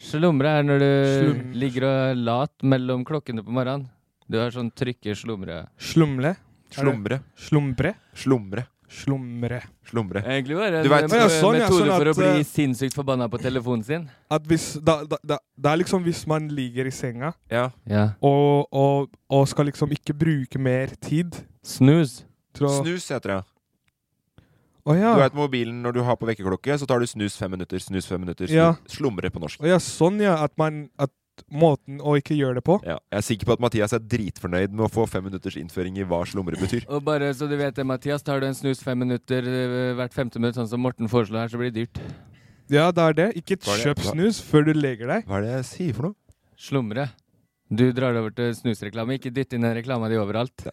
Slumre er når du Slum- ligger og er lat mellom klokkene på morgenen. Du har sånn trykke slumre. Slumle? slumre. Slumbre? Slumre. Slumre. Slumre. Egentlig var det Du en vet- eh, Ja, sånn, ja, metode sånn for å at, bli eh, sinnssykt forbanna på telefonen sin. At hvis, da, da, da, det er liksom hvis man ligger i senga Ja. Ja. og, og, og skal liksom ikke bruke mer tid Snus. til å Snus heter det. Å ja. Du vet mobilen når du har på vekkerklokke, så tar du snus fem minutter, snus fem minutter. Snus. Ja. Slumre på norsk. Å ja, sånn ja. At man At måten å ikke gjøre det på Ja. Jeg er sikker på at Mathias er dritfornøyd med å få fem minutters innføring i hva slumre betyr. Og bare så du vet det, Mathias, tar du en snus fem minutter eh, hvert femte minutt, sånn som Morten foreslår her, så blir det dyrt. Ja, det er det. Ikke Hva er det- kjøp hva- snus før du legger deg. Hva er det jeg sier for noe? Slumre. Du drar over til snusreklame. Ikke dytt inn den reklama di overalt.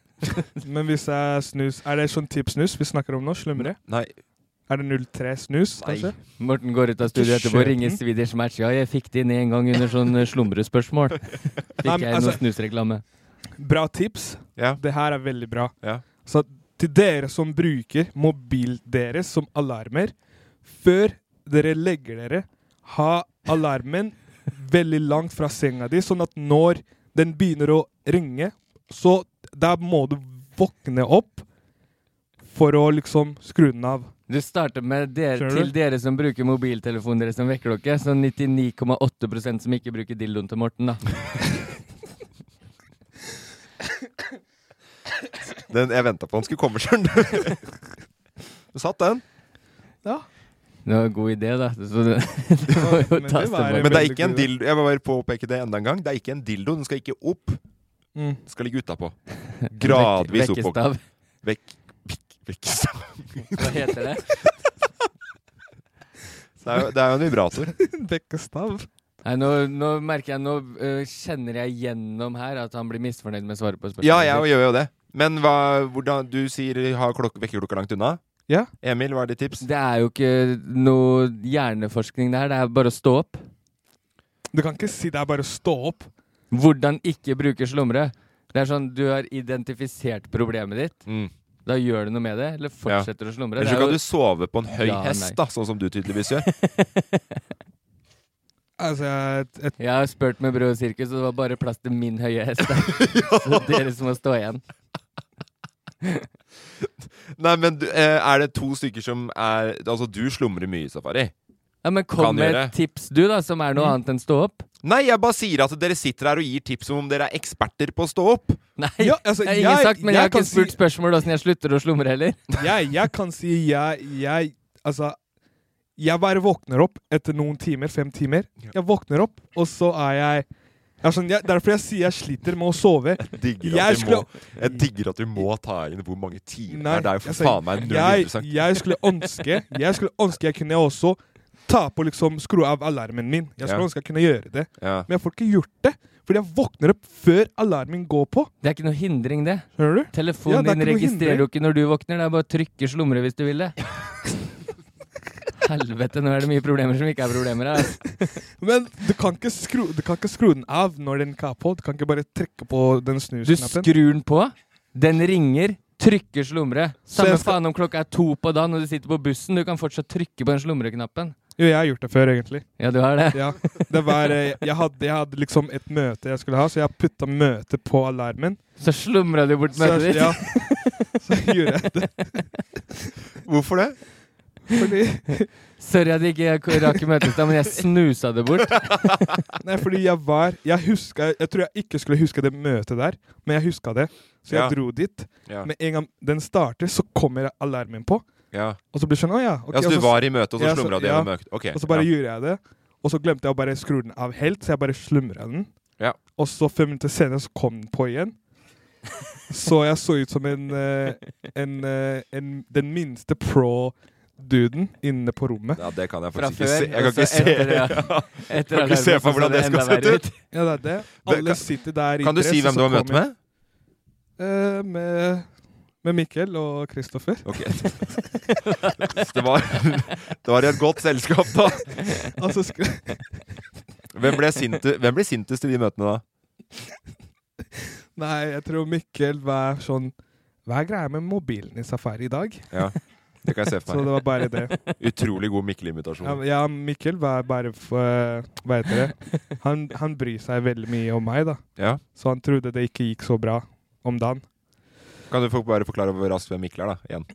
Men hvis det er snus Er det sånn type snus vi snakker om nå? Slumre? Nei. Er det 03 snus, Nei. kanskje? Morten går ut av studio etterpå og kjøp ringer den. Swedish Match. Ja, jeg fikk det inn en gang under sånn eh, slumrespørsmål. Nei, Fikk men jeg altså- noe snusreklame. Bra tips. Ja. Det her er veldig bra. Ja. Så til dere som bruker mobil deres som alarmer, før dere legger dere, ha alarmen veldig langt fra senga di, sånn at når den begynner å ringe, så da må du våkne opp for å liksom skru den av. Du starter med dere, Skjønner du? til dere som bruker mobiltelefonen deres som vekkerklokke. Så 99,8 som ikke bruker dildoen til Morten, da. Den, jeg venta på den skulle komme, skjønner du. Satt den. Det var en god idé, da. Så det, det må jo Men det tas var- tilbake. Men det er ikke veldig en god idé. dildo Jeg må bare påpeke det enda en gang. Det er ikke en dildo. Den skal ikke opp. Mm. Den skal ligge utapå. Gradvis Vekk- oppå. vekkestav. Vekk, vekk, vekkestav. Hva heter det? Det er, jo, det er jo en vibrator. Vekkestav. Nei, nå, nå merker jeg Nå øh, kjenner jeg gjennom her at han blir misfornøyd med svaret på spørsmålet. Ja, jeg gjør jo det. Men hva, hvordan, du sier ha klok vekkerklokka langt unna. Ja. Emil, hva er ditt tips? Det er jo ikke noe hjerneforskning det her. Det er bare å stå opp. Du kan ikke si det er bare å stå opp. Hvordan ikke bruke slumre. Det er sånn, Du har identifisert problemet ditt. Mm. Da gjør du noe med det, eller fortsetter å slumre. Eller Det så er kan jo- du sove på en høy Ja, hest, nei. da, sånn som du tydeligvis gjør. Altså, jeg, jeg, Jeg har spurt med Brød og sirkus, og det var bare plass til min høye hest. der. Så dere som må stå igjen. Nei, men du, eh, er det to stykker som er Altså, du slumrer mye, Safari. Ja, Men Kan kom med gjøre. et tips, du, da, som er noe Mm. annet enn stå opp. Nei, jeg bare sier at dere sitter her og gir tips som om dere er eksperter på å stå opp. Nei, Ja, altså, det har ingen jeg- sagt, men jeg jeg, har kan ikke spurt si- spørsmål åssen jeg slutter å slumre heller. jeg, jeg kan si jeg, jeg Altså, jeg bare våkner opp etter noen timer, fem timer. Jeg våkner opp, og så er jeg, jeg er sånn, jeg Derfor jeg sier jeg sliter med å sove. Jeg digger, Jeg at, vi skulle- må, jeg digger at vi må ta inn hvor mange timer det Nei, er. Det er jo for altså, faen meg null jeg, interessant. jeg skulle ønske Jeg skulle ønske jeg kunne også ta på liksom skru av alarmen min. Jeg Ja. skulle ønske jeg kunne gjøre det, Ja. men jeg får ikke gjort det. Fordi jeg våkner opp før alarmen går på. Det er ikke noe hindring, det. Hører du? Ja, Telefonen det er din ikke noe registrerer hindring. jo ikke når du våkner. Det er bare å trykke 'slumre' hvis du vil det. Helvete, nå er det mye problemer som ikke er problemer her. altså. Men du kan ikke skru, du kan ikke skru den av når den ikke er på. Du kan ikke bare trekke på den Du snusknappen. skrur den på, den ringer, trykker 'slumre'. Så jeg Samme skal- faen om klokka er to på dagen og du sitter på bussen, du kan fortsatt trykke på den slumreknappen. Jo, jeg har gjort det før, egentlig. Ja, du har det. Ja, det var, eh, jeg, hadde, jeg hadde liksom et møte jeg skulle ha, så jeg putta møtet på alarmen. Så slumra du bort Så, møtet jeg- ditt. ja, så gjorde jeg det. Hvorfor det? Fordi, Sorry at jeg ikke rakk møtet i stad, men jeg snusa det bort. nei, fordi jeg var Jeg huska Jeg tror jeg ikke skulle huske det møtet der, men jeg huska det. Så jeg Ja. dro dit. Ja. Med en gang den starter, så kommer alarmen på. ja. Og så blir det sånn Å ja. ok, ja, så og du så- var i møte, og ja, så så- slumra du ja. gjennom økt? Ok. Og så bare ja. gjorde jeg det. Og så glemte jeg å bare skru den av helt, så jeg bare slumra den. Ja. Og så fem minutter senere så kom den på igjen. Så jeg så ut som en, eh, en, eh, en den minste pro-duden inne på rommet. ja, det kan jeg Fra faktisk ikke før, se. Jeg kan altså, og så ikke se. etter det, Etter Kan ikke se alarmen for så hvordan så det skal enda se verre ut. Ja, det er det. Det- Alle kan- sitter der i Kan du dress, si og hvem så du har møtt kommer- med? Eh, med, med Mikkel og Kristoffer. Ok. Det var, det var i et godt selskap, da. Og så skru, Hvem ble, sinte, hvem ble sintest i de møtene, da? nei, jeg tror Mikkel var sånn Hva er greia med mobilen i Safari i dag? Ja, det kan jeg se Så for det meg. var bare det. Utrolig god Ja, Mikkel-imitasjon. ja, Mikkel var bare for, eh, Hva heter det? Han, han bryr seg veldig mye om meg, da. Ja. Så han trodde det ikke gikk så bra om dagen. Kan du få- bare forklare hvor raskt hvem Mikkel er, da? Igjen.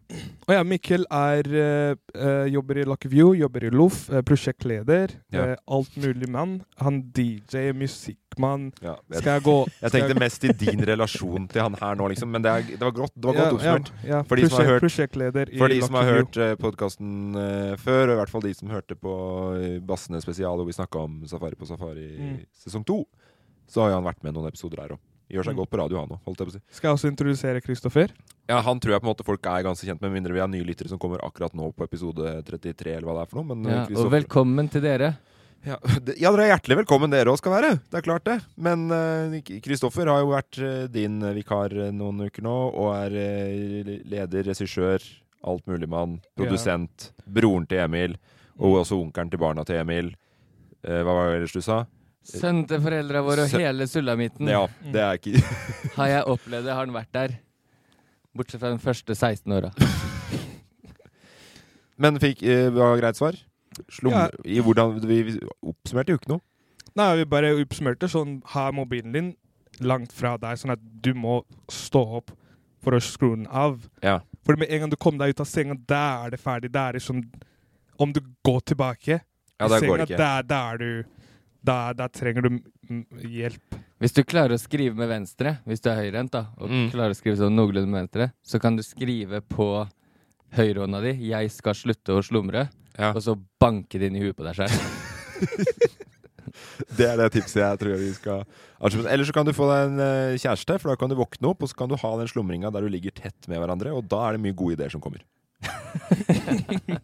Og ja, Mikkel er, eh, eh, jobber i Lucky View, jobber i LOF, eh, prosjektleder. Ja. eh, alt mulig mann. Han DJ, musikkmann. Ja, jeg, Skal jeg gå jeg skal tenkte mest i din relasjon til han her nå, liksom. Men det, er, det var godt, det var godt ja, oppsummert. ja, ja. For de som har Prosjekt- hørt- Prosjektleder i For de som Lucky har View. hørt podkasten før, og i hvert fall de som hørte på eh, Bassene spesial, og vi snakka om Safari på Safari Mm. sesong to, så har jo han vært med i noen episoder her òg. Gjør seg Mm. godt på radio, han òg, holdt jeg på å si. Skal jeg også introdusere Kristoffer? Ja, han tror jeg på en måte folk er ganske kjent med, med mindre vi har nye lyttere som kommer akkurat nå på episode 33, eller hva det er for noe. Men Ja, eh, og Kristoffer- velkommen til dere. Ja, det- ja, dere er hjertelig velkommen, dere òg skal være. Det er klart, det. Men eh, Kristoffer har jo vært eh, din eh, vikar eh, noen uker nå, og er eh, leder, regissør, altmuligmann, Ja. Mm. produsent, broren til Emil, og også onkelen til barna til Emil. Eh, hva var det ellers du sa? Sønnen til foreldra våre og Sø- hele Mm. sulamitten. Ja, det er ikke Har jeg opplevd det, har han vært der. Bortsett fra den første 16 åra. Men fikk eh, hva var greit svar? Slum, Ja. i hvordan, vi vi oppsummerte jo ikke noe. Nei, vi bare oppsummerte sånn Ha mobilen din langt fra deg, sånn at du må stå opp for å skru den av. Ja. For med en gang du kom deg ut av senga, da er det ferdig. Da er det som Om du går tilbake Ja, i det senga, går ikke. da, da er du da, da trenger du mm, hjelp. Hvis du klarer å skrive med venstre, hvis du er høyrehendt, da, og Mm. klarer å skrive sånn noenlunde med venstre, så kan du skrive på høyrehånda di 'Jeg skal slutte å slumre', Ja. og så banke det inn i huet på deg sjøl. Det er det tipset jeg tror vi skal avslutte. Eller så kan du få deg en eh, kjæreste, for da kan du våkne opp, og så kan du ha den slumringa der du ligger tett med hverandre, og da er det mye gode ideer som kommer.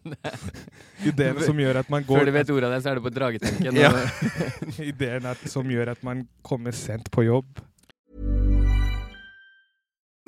Ideene som gjør at man Før går du vet ordet av det, så er du på dragetenken. Ja. og- Ideene at- som gjør at man kommer sent på jobb.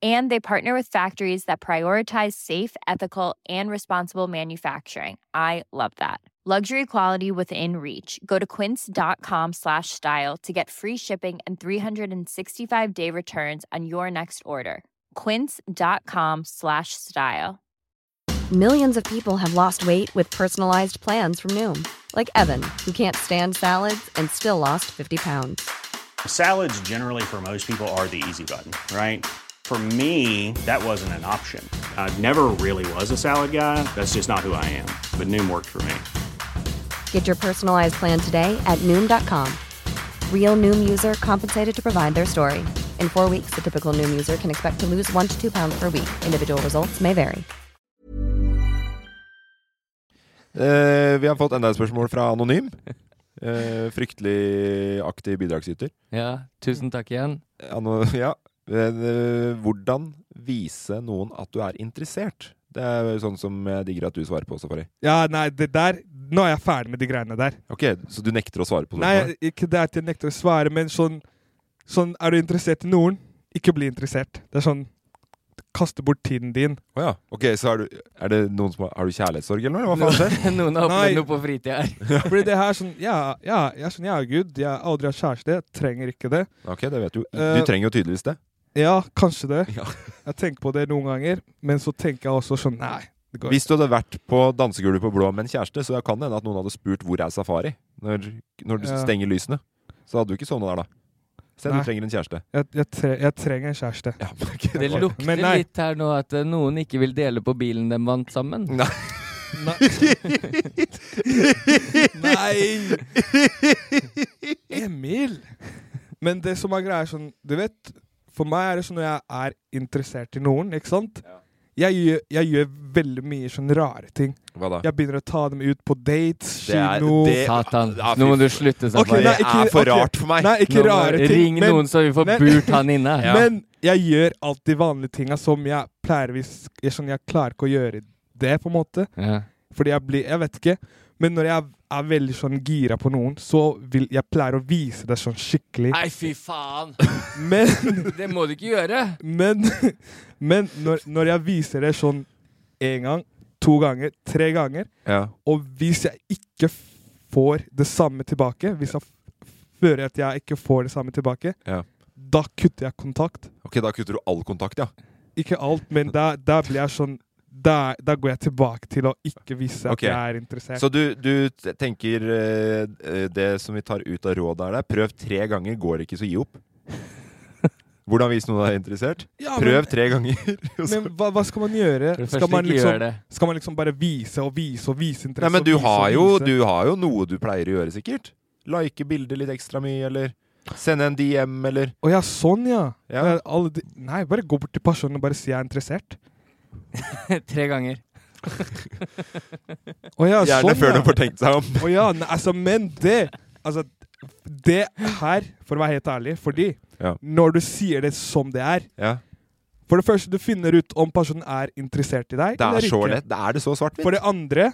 And they partner with factories that prioritize safe, ethical, and responsible manufacturing. I love that. Luxury quality within reach. Go to quince.com slash style to get free shipping and 365 day returns on your next order. Quince.com slash style. Millions of people have lost weight with personalized plans from Noom, like Evan, who can't stand salads and still lost 50 pounds. Salads, generally, for most people, are the easy button, right? For me, that wasn't an option. I never really was a salad guy. That's just not who I am. But Noom worked for me. Get your personalized plan today at Noom.com. Real Noom user compensated to provide their story. In four weeks, the typical Noom user can expect to lose one to two pounds per week. Individual results may vary. Eh, vi har fått enda et spørsmål fra Anonym. Eh, fryktelig aktiv bidragsyter. ja, tusen takk igjen. Ano, ja. Eh, hvordan vise noen at du er interessert? Det er jo sånn som jeg digger at du svarer på, Safari. Ja, nei, det der Nå er jeg ferdig med de greiene der. Ok, Så du nekter å svare på Nei, spørsmålet? ikke det at jeg nekter å svare, men sånn, sånn Er du interessert i noen? Ikke bli interessert. Det er sånn Kaste bort tiden din. Å ja. Ok, så er, du, er det noen som har, har du kjærlighetssorg, eller noe? Hva faen skjer? Noen har Nei. opplevd noe på fritida her. Fordi det her sånn Ja, ja, jeg er sånn, ja, gud, jeg har aldri hatt kjæreste. Jeg trenger ikke det. Ok, det vet du. Eh, Du trenger jo tydeligvis det. Ja, kanskje det. Ja. Jeg tenker på det noen ganger, men så tenker jeg også sånn Nei, det går ikke. Hvis du hadde vært på dansegulvet på Blå med en kjæreste, så kan det hende at noen hadde spurt 'hvor er safari?' når, når du Ja. stenger lysene. Så hadde du ikke sovna der, da. Se, du Nei. trenger en kjæreste. Jeg, jeg, tre, jeg trenger en kjæreste. Ja, men ok, Det var- lukter Men nei. litt her nå at eh, noen ikke vil dele på bilen de vant sammen. Nei. Nei! Emil! Men det som er greia, er sånn Du vet, for meg er det sånn når jeg er interessert i noen, ikke sant? Jeg, gjør, jeg gjør veldig mye sånn rare ting. Hva da? Jeg begynner å ta dem ut på dates, Det er- kino det- Satan, Ja, fy nå må du f- slutte, Ok, Safari. det nei, er ikke- for ok. rare for meg. Nei, ikke Nå må- rare ting. Ring men- noen, så vi får men- burt han inne. Men jeg gjør alltid vanlige tinga som jeg pleier jeg, sånn, jeg klarer ikke å gjøre det, på en måte. Ja. Fordi jeg blir Jeg vet ikke. Men når jeg er veldig sånn gira på noen, så vil jeg pleier å vise det sånn skikkelig. Nei, fy faen! Men Det må du ikke gjøre! Men, men når, når jeg viser det sånn én gang, to ganger, tre ganger, Ja. og hvis jeg ikke f- får det samme tilbake, hvis jeg f- føler at jeg ikke får det samme tilbake, Ja. da kutter jeg kontakt. Ok, da kutter du all kontakt, ja. Ikke alt, men da, da blir jeg sånn da, da går jeg tilbake til å ikke vise at Ok. jeg er interessert. Så du, du t- tenker eh, eh, det som vi tar ut av rådet her, det er prøv tre ganger, går ikke, så gi opp. Hvordan vis noen er interessert? Ja, Prøv men- tre ganger. og så- Men hva, hva skal man gjøre? Tror du Skal først man, ikke gjør liksom, det. skal man liksom bare vise og vise og vise interesse? Nei, men og du vise og har, jo, vise? du har jo noe du pleier å gjøre, sikkert. Like bildet litt ekstra mye, eller sende en DM, eller Å ja, sånn ja. Ja. Eh, Alle de, nei, bare gå bort til personen og bare si jeg er interessert. Tre ganger. Å ja, Gjerne sånn, før ja. de får tenkt seg om. Å ja, nei, altså, men det Altså, det her, for å være helt ærlig, fordi Ja. når du sier det som det er Ja. For det første, du finner ut om personen er interessert i deg Det er eller så ikke. lett. Det er det så svart-hvitt. For det andre,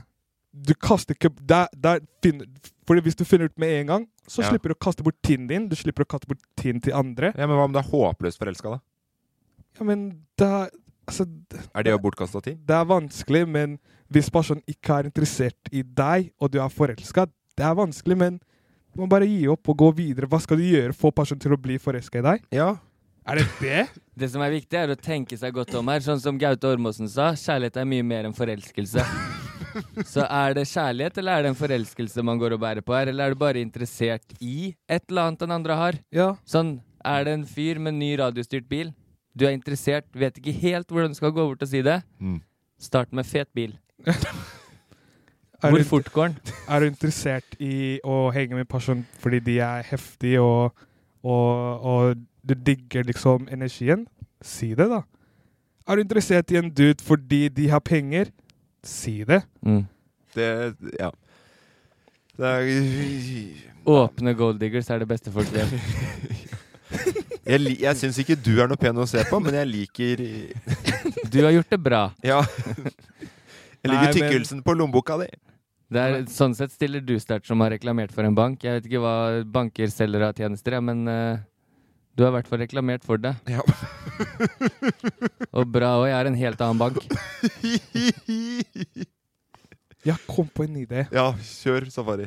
du kaster ikke der, der finner, Fordi hvis du finner ut med en gang, så Ja. slipper du å kaste bort tiden din. Du slipper å kaste bort tiden til andre. Ja, Men hva om du er håpløst forelska, da? Ja, men da Altså, d- Er det jo bortkasta tid? det er vanskelig, men hvis personen ikke er interessert i deg, og du er forelska, det er vanskelig, men du må bare gi opp og gå videre. Hva skal du gjøre for personen til å bli forelska i deg? Ja. Er det det? Det som er viktig, er å tenke seg godt om her. Sånn som Gaute Ormåsen sa, kjærlighet er mye mer enn forelskelse. Så er det kjærlighet, eller er det en forelskelse man går og bærer på her? Eller er du bare interessert i et eller annet den andre har? Sånn, er det en fyr med ny radiostyrt bil? Du er interessert, vet ikke helt hvordan du skal gå bort og si det. Mm. Start med fet bil. Er Hvor du- fort går den? Er du interessert i å henge med personen fordi de er heftige og, og, og du digger liksom energien? Si det, da. Er du interessert i en dude fordi de har penger? Si det. Mm. Det Ja. Det er Åpne gold diggers er det beste folk vet. Jeg, li- jeg syns ikke du er noe pen å se på, men jeg liker Du har gjort det bra. Ja. Jeg Nei, men- liker tykkelsen på lommeboka di. Det er, sånn sett stiller du sterkt som har reklamert for en bank. Jeg vet ikke hva banker selger av tjenester, ja, men eh, du har i hvert fall reklamert for det. og bra òg. Jeg er en helt annen bank. Jeg kom på en idé. Ja, kjør safari.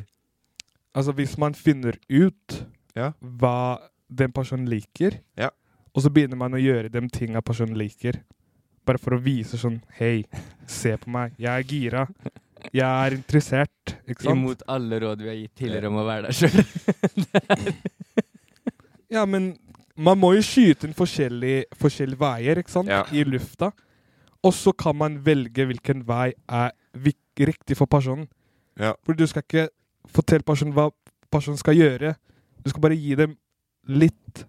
Altså, hvis man finner ut Ja. hva den personen liker, Ja. og så begynner man å gjøre de tinga personen liker, bare for å vise sånn Hei, se på meg. Jeg er gira. Jeg er interessert. Ikke sant? Imot alle råd vi har gitt tidligere om å være der sjøl. Ja, men man må jo skyte inn forskjellige, forskjellige veier, ikke sant? I lufta. Og så kan man velge hvilken vei er vik- riktig for personen. Ja. For du skal ikke fortelle personen hva personen skal gjøre. Du skal bare gi dem litt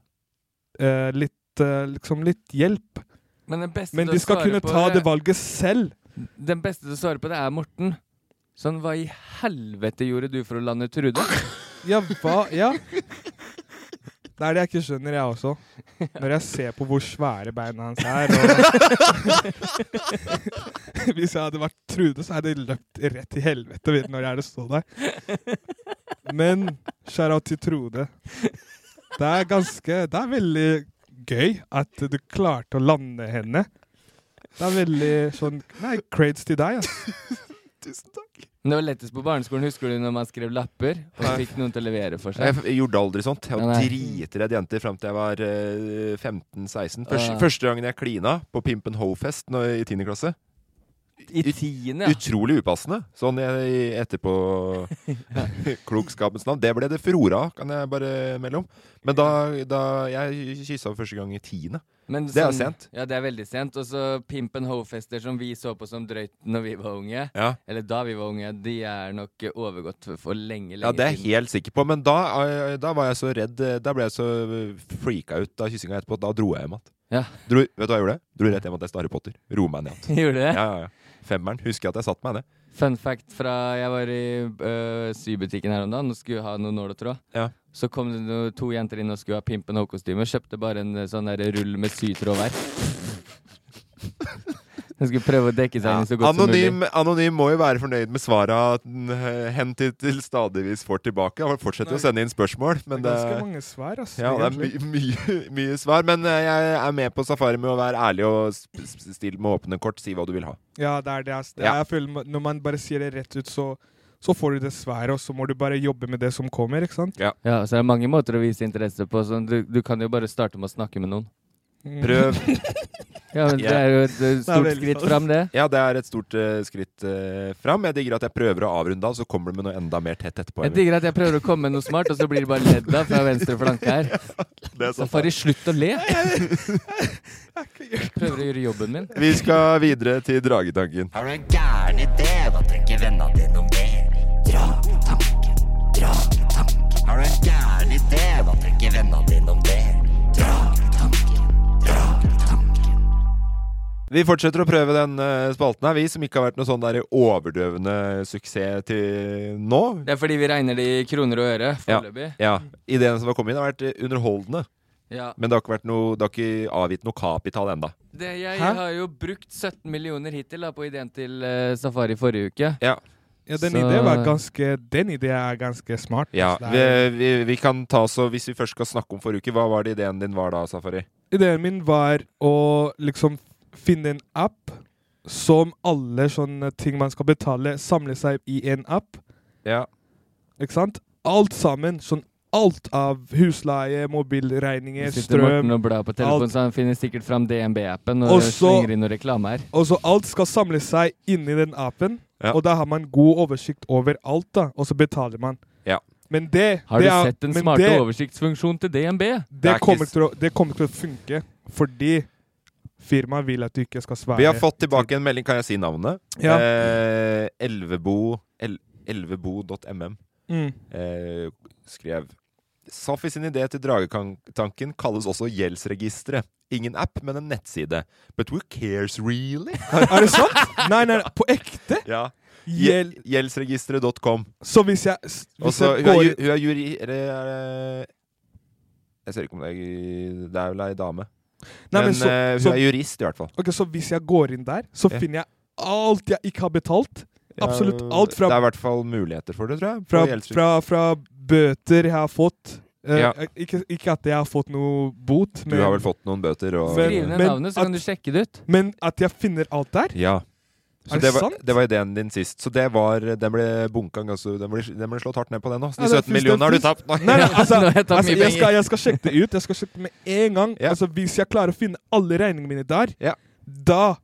eh, Litt eh, liksom litt hjelp. Men den beste Men til de å skal svare kunne på ta det- det valget selv. Den beste til å svare på det er Morten. Sånn, hva i helvete gjorde du for å lande Trude? Ja, hva Ja. Det er det jeg ikke skjønner, jeg også. Når jeg ser på hvor svære beina hans er. Og Hvis jeg hadde vært Trude, så hadde jeg løpt rett til helvete vet du, når jeg hadde stått der. Men skjæra til Trude. Det er ganske Det er veldig gøy at du klarte å lande henne. Det er veldig sånn Nei, crades til deg, ass. Tusen takk. Det var lettest på barneskolen, husker du, når man skrev lapper og Nei. fikk noen til å levere for Jeg seg? f- gjorde aldri sånt. Jeg var Nei, nei. dritredd jenter fram til jeg var eh, 15-16. Første, Ja. første gangen jeg klina på Pimpen Ho-fest nå i 10. klasse. I tiende, ja. Utrolig upassende. Sånn jeg, etterpå klokskapens navn. Det ble det frora av, kan jeg bare melde om. Men da, da Jeg kyssa for første gang i tiende. Men det er sånn- sent. Ja, det er veldig sent. Og så Pimp and Ho-fester som vi så på som drøyt når vi var unge, Ja. eller da vi var unge, de er nok eh, overgått for, for lenge, lenge Ja, det er siden. jeg helt sikker på. Men da, eh, da var jeg så redd eh, Da ble jeg så eh, freaka ut av kyssinga etterpå. Da dro jeg hjem igjen. Ja. Dro- Vet du hva jeg gjorde? Dro rett hjem og leste Harry Potter. Ro meg ned igjen. Gjorde du det? Ja, ja, ja. Femmeren. Husker jeg at jeg satt meg ned. Fun fact fra jeg var i øh, sybutikken her om dagen og skulle ha noe nål og tråd. Ja. Så kom det no to jenter inn og skulle ha Pimp and Ho-kostyme. Kjøpte bare en eh, sånn der rull med sytråd hver. De skulle prøve å dekke seg inn så godt som Anonym, mulig. anonym må jo være fornøyd med svara den, eh, hen til, til stadigvis får tilbake. Han fortsetter jo å sende inn spørsmål, men Det det er ganske mange svar, ass, Ja, det er my, egentlig. mye, mye svar. Men eh, jeg er med på safari med å være ærlig og sp- sp- stille med åpne kort. Si hva du vil ha. Ja, det er det. ass. Det Ja. er- Jeg føler, ma- når man bare sier det rett ut, så, så får du det sværet, og så må du bare jobbe med det som kommer. ikke sant? Ja, så er det mange måter å vise interesse på. Sånn, du, du kan jo bare starte med å snakke med noen. Mm, Prøv. Ja, men det er jo et, eh, stort Det er veldig skritt fram, det. Ja, det er et stort eh, skritt eh, fram. Jeg digger at jeg prøver å avrunde av, så kommer du med noe enda mer tett etterpå. Jeg digger at jeg prøver å komme med noe smart, og så blir det bare ledd av fra venstre flanke her. Det er Så sant. får de slutte å le. Jeg prøver å gjøre jobben min. Vi skal videre til dragetanken. Har du en gæren idé? Hva tenker vennene dine om det? Dragetanken, dragetanken. Har du en gæren idé? Hva tenker vennene dine om det? Dragetanken, dragetanken. Vi fortsetter å prøve den eh, spalten her, vi som ikke har vært noe sånn der overdøvende suksess til nå. Det er fordi vi regner det i kroner og øre Ja, foreløpig. ja. Ideene som har kommet inn, har vært eh, underholdende. Ja. Men det har ikke, vært noe, det har ikke avgitt noe kapital enda Det, jeg Hæ? har jo brukt 17 millioner hittil da, på ideen til eh, Safari forrige uke. Ja. Ja, den Så- ideen var ganske Den ideen er ganske smart. Ja, Det vi, er- vi, vi kan ta så Hvis vi først skal snakke om forrige uke, hva var det ideen din var da, Safari? Ideen min var å liksom finne en app som alle sånne ting man skal betale, samler seg i en app. Ja. Ikke sant? Alt sammen. Sånn alt av husleie, mobilregninger, Hvis sitter Morten strøm og blar på telefonen, alt. så han finner sikkert fram DNB-appen og Og så- slenger inn noen reklame her. Og så Altså, alt skal samle seg inni den appen, Ja. og da har man god oversikt over alt, da, og så betaler man. Ja. Men det Har du det er- sett den men smarte det- oversiktsfunksjonen til DNB? Det kommer, til å, det kommer til å funke fordi firmaet vil at du ikke skal svare. Vi har fått tilbake en melding, kan jeg si navnet? Ja. Eh, elvebo el, elvebo.mm Mm. eh, skrev Safi sin idé til dragetanken kalles også gjeldsregisteret. Ingen app, men en nettside. But who cares really? Er det sant? Nei, nei, nei, på ekte? Ja. Gjel- Gjel- Gjeldsregisteret.com. Så hvis jeg, s- Og hvis så jeg hun, er går ju- hun er juri... Eller er det Jeg ser ikke om det er ju- Det er vel ei dame. Nei, men men så- eh, hun så- er jurist, i hvert fall. Ok, så hvis jeg går inn der, så Ja. finner jeg alt jeg ikke har betalt. Absolutt Ja, alt fra, Det er i hvert fall muligheter for det, tror jeg. på fra, gjeldsregisteret. fra, fra bøter jeg har fått. Eh, Ja. ikke, ikke at jeg har fått noe bot. Du har vel fått noen bøter og Skriv ned navnet, så kan du sjekke det ut. Men at jeg finner alt der? Ja. Så Er det, det var, sant? det var ideen din sist. Så det var Den ble bunka ganske Den ble, den ble slått hardt ned på, den nå. Så Ja, De det 17 millionene har du finnes- tapt! Nei, nei, altså, Nå har jeg tapt altså mye jeg, penger. skal, jeg skal sjekke det ut. Jeg skal sjekke det med en gang. Altså, hvis jeg klarer å finne alle regningene mine der, da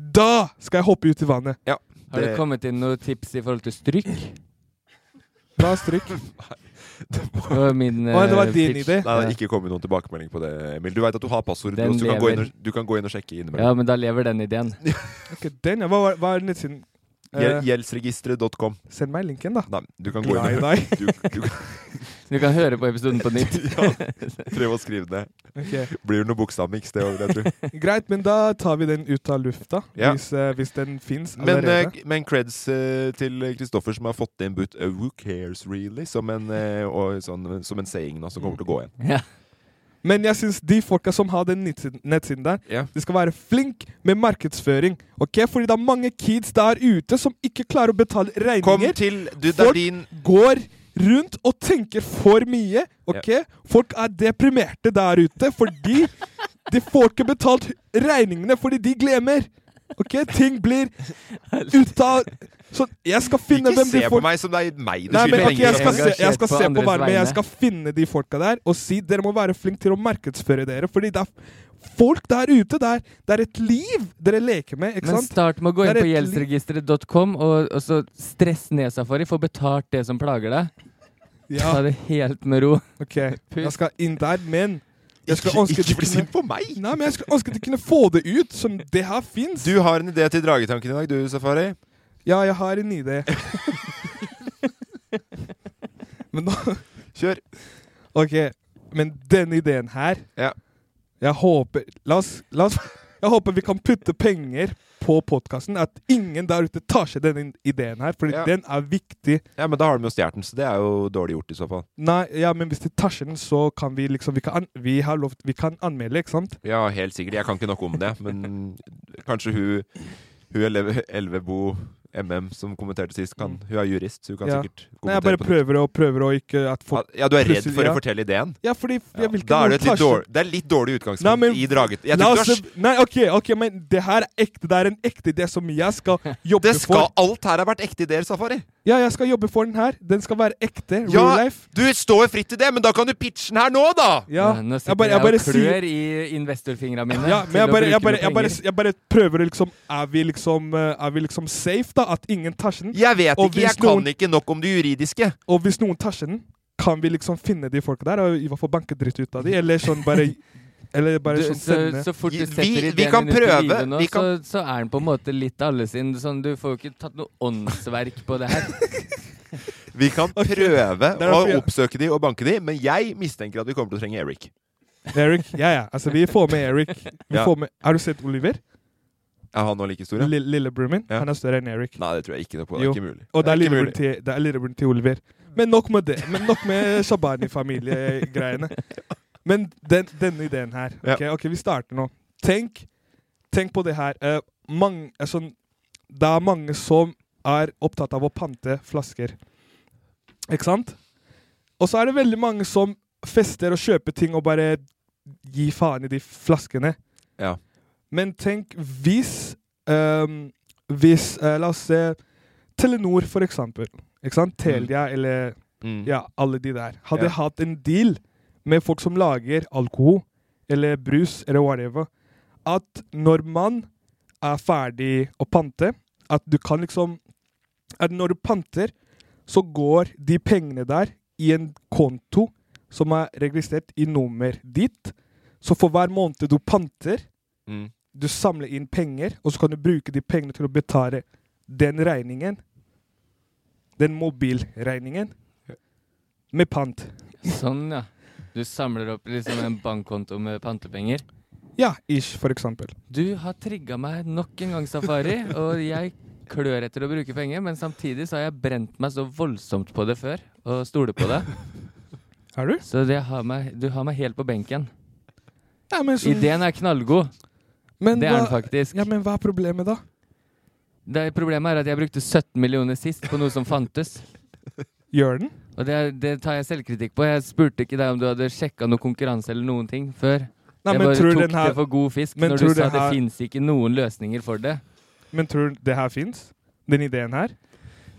Da skal jeg hoppe ut i vannet. Har det kommet inn noen tips i forhold til stryk? Bra strykk. Det var min Å, det var eh, din pitch. Nei, det Ja. har ikke kommet noen tilbakemelding på det, Emil. Du veit at du har passordet, Den så du kan, gå inn lever. og, du kan gå inn og sjekke innimellom. Ja, men da lever den ideen. Ok, den, ja. Hva var- hva er nettsiden? Gjel- Eh, Gjeldsregisteret.com. Send meg linken, da. Nei, du kan gå Glad inn og i deg. du, du, kan- Du kan høre på episoden på nytt. ja, Prøv å skrive det. Ok. Blir det noe bokstavmiks, det òg, jeg tror. Greit, men da tar vi den ut av lufta. Ja. Hvis, eh, hvis den fins Men, allerede. eh, men creds eh, til Kristoffer som har fått inn but, eh, Who cares really? Som en, eh, og, sånn, som en saying nå, som Mm. kommer til å gå igjen. Ja. Men jeg syns de folka som har den nettsiden- nettsiden der, Ja. de skal være flink med markedsføring. ok? Fordi det er mange kids der ute som ikke klarer å betale regninger. Kom til du, Det Folk er din går rundt og tenker for mye. ok? Folk er deprimerte der ute fordi de får ikke betalt regningene fordi de glemmer. ok? Ting blir ut av Sånn, jeg skal finne Ikke hvem se de på får meg som det er meg du Nei, men skylder ok, jeg skal se, penger. jeg skal se på andres hverandre, men jeg vegne. skal finne de folka der og si dere må være flinke til å markedsføre dere. Fordi det er folk der ute. Det er, det er et liv dere leker med, ikke Men sant? start med å gå Det inn er på et gjeldsregisteret.com og, og så stress ned Safari. Få betalt det som plager deg. Ja. Ta det helt med ro. Ok, jeg skal inn der, men jeg skulle Ikke- ønske ikke de bli kunne- sint på meg! Nei, men jeg skulle ønske de kunne få det ut, som det her fins. Du har en idé til dragetanken i dag, du, Safari. Ja, jeg har en idé. men nå Kjør. Ok, men denne ideen her Ja. Jeg håper La oss, la oss Jeg håper vi kan putte penger på podkasten. At ingen der ute tar seg denne ideen her, for Ja. den er viktig. Ja, men da har de jo stjålet den, så det er jo dårlig gjort i så fall. Nei, ja, men hvis de tar seg den, så kan vi liksom Vi kan, an vi har lovt, vi kan anmelde, ikke sant? Ja, helt sikkert. Jeg kan ikke nok om det, men kanskje hun Hun Elve- Elvebo MM som kommenterte sist, kan, hun er jurist, så hun kan Ja. sikkert kommentere Nei, jeg bare på det. prøver og prøver og ikke at folk Ja, du er redd plutselig- for ja. å fortelle ideen? Ja, fordi jeg vil ikke Da er det, et litt noen tar seg- dårlig, det er litt dårlig utgangspunkt Nei, men- i draget. Jeg La tror oss, du har s- nei, ok, ok, men det her er ekte. Det er en ekte idé som jeg skal jobbe det skal for. Alt her har vært ekte ideer, Safari! Ja, jeg skal jobbe for den her. Den skal være ekte. Ja, Real life. du står fritt til det, men da kan du pitche den her nå, da! Ja, Nei, Nå jeg sitter jeg, bare, jeg bare og klør sier i investorfingra mine. ja, men til jeg bare, å bruke jeg, bare, med jeg, bare, penger. jeg bare prøver liksom Er vi liksom, eh, er vi liksom safe, da? At ingen tasjer den? Jeg vet Og ikke, jeg hvis noen- kan ikke nok om det juridiske. Og hvis noen tasjer den, kan vi liksom finne de folka der og i hvert fall banke dritt ut av de? Eller sånn bare Eller bare Du, sånn så, sende så fort du Vi- setter vi i det kan minuttet prøve, livet nå, vi kan- så, så er den på en måte litt alle sin. Sånn, du får jo ikke tatt noe åndsverk på det her. Vi kan Ok. prøve Det er å derfor jeg- oppsøke de og banke de, men jeg mistenker at vi kommer til å trenge Eric. Eric, ja ja. Altså, vi får med Eric. Vi Ja. får med, har du sett Oliver? Er han nå like stor? ja? Lille- Lillebroren min? Han er større enn Eric. Nei, det tror jeg ikke noe på. Det Jo. er ikke mulig. Og det er ikke lillebroren mulig. til, det er lillebroren til Oliver. Men nok med det. Men nok med Shabani-familiegreiene. Men den, denne ideen her Ja. ok, ok, vi starter nå. Tenk, tenk på det her. Eh, mange, altså, det er mange som er opptatt av å pante flasker. Ikke sant? Og så er det veldig mange som fester og kjøper ting og bare gir faen i de flaskene. Ja. Men tenk hvis ehm, Hvis, eh, la oss se Telenor, for eksempel. Ikke sant? Telia eller Mm. ja, alle de der. Hadde Ja. hatt en deal med folk som lager alkohol eller brus eller whatever, at når man er ferdig å pante, at du kan liksom At når du panter, så går de pengene der i en konto som er registrert i nummer ditt. Så for hver måned du panter, Mm. du samler inn penger, og så kan du bruke de pengene til å betale den regningen. Den mobilregningen. Med pant. Sånn, ja. Du samler opp liksom en bankkonto med pantepenger. Ja, ish, for eksempel. Du har trigga meg nok en gang, Safari, og jeg klør etter å bruke penger, men samtidig så har jeg brent meg så voldsomt på det før, og stoler på det. Er du? Så det har meg, du har meg helt på benken. Ja, men så- Ideen er knallgod. Men det er den hva- faktisk. Ja, Men hva er problemet, da? Det problemet er at jeg brukte 17 millioner sist på noe som fantes. Gjør den? Og det, er- det tar jeg selvkritikk på. Jeg spurte ikke deg om du hadde sjekka noe konkurranse eller noen ting før. Nei, jeg men bare tror tok den her- det for god fisk Men når du tror sa den her- det fins ikke noen løsninger for det. Men tror du det her fins? Den ideen her?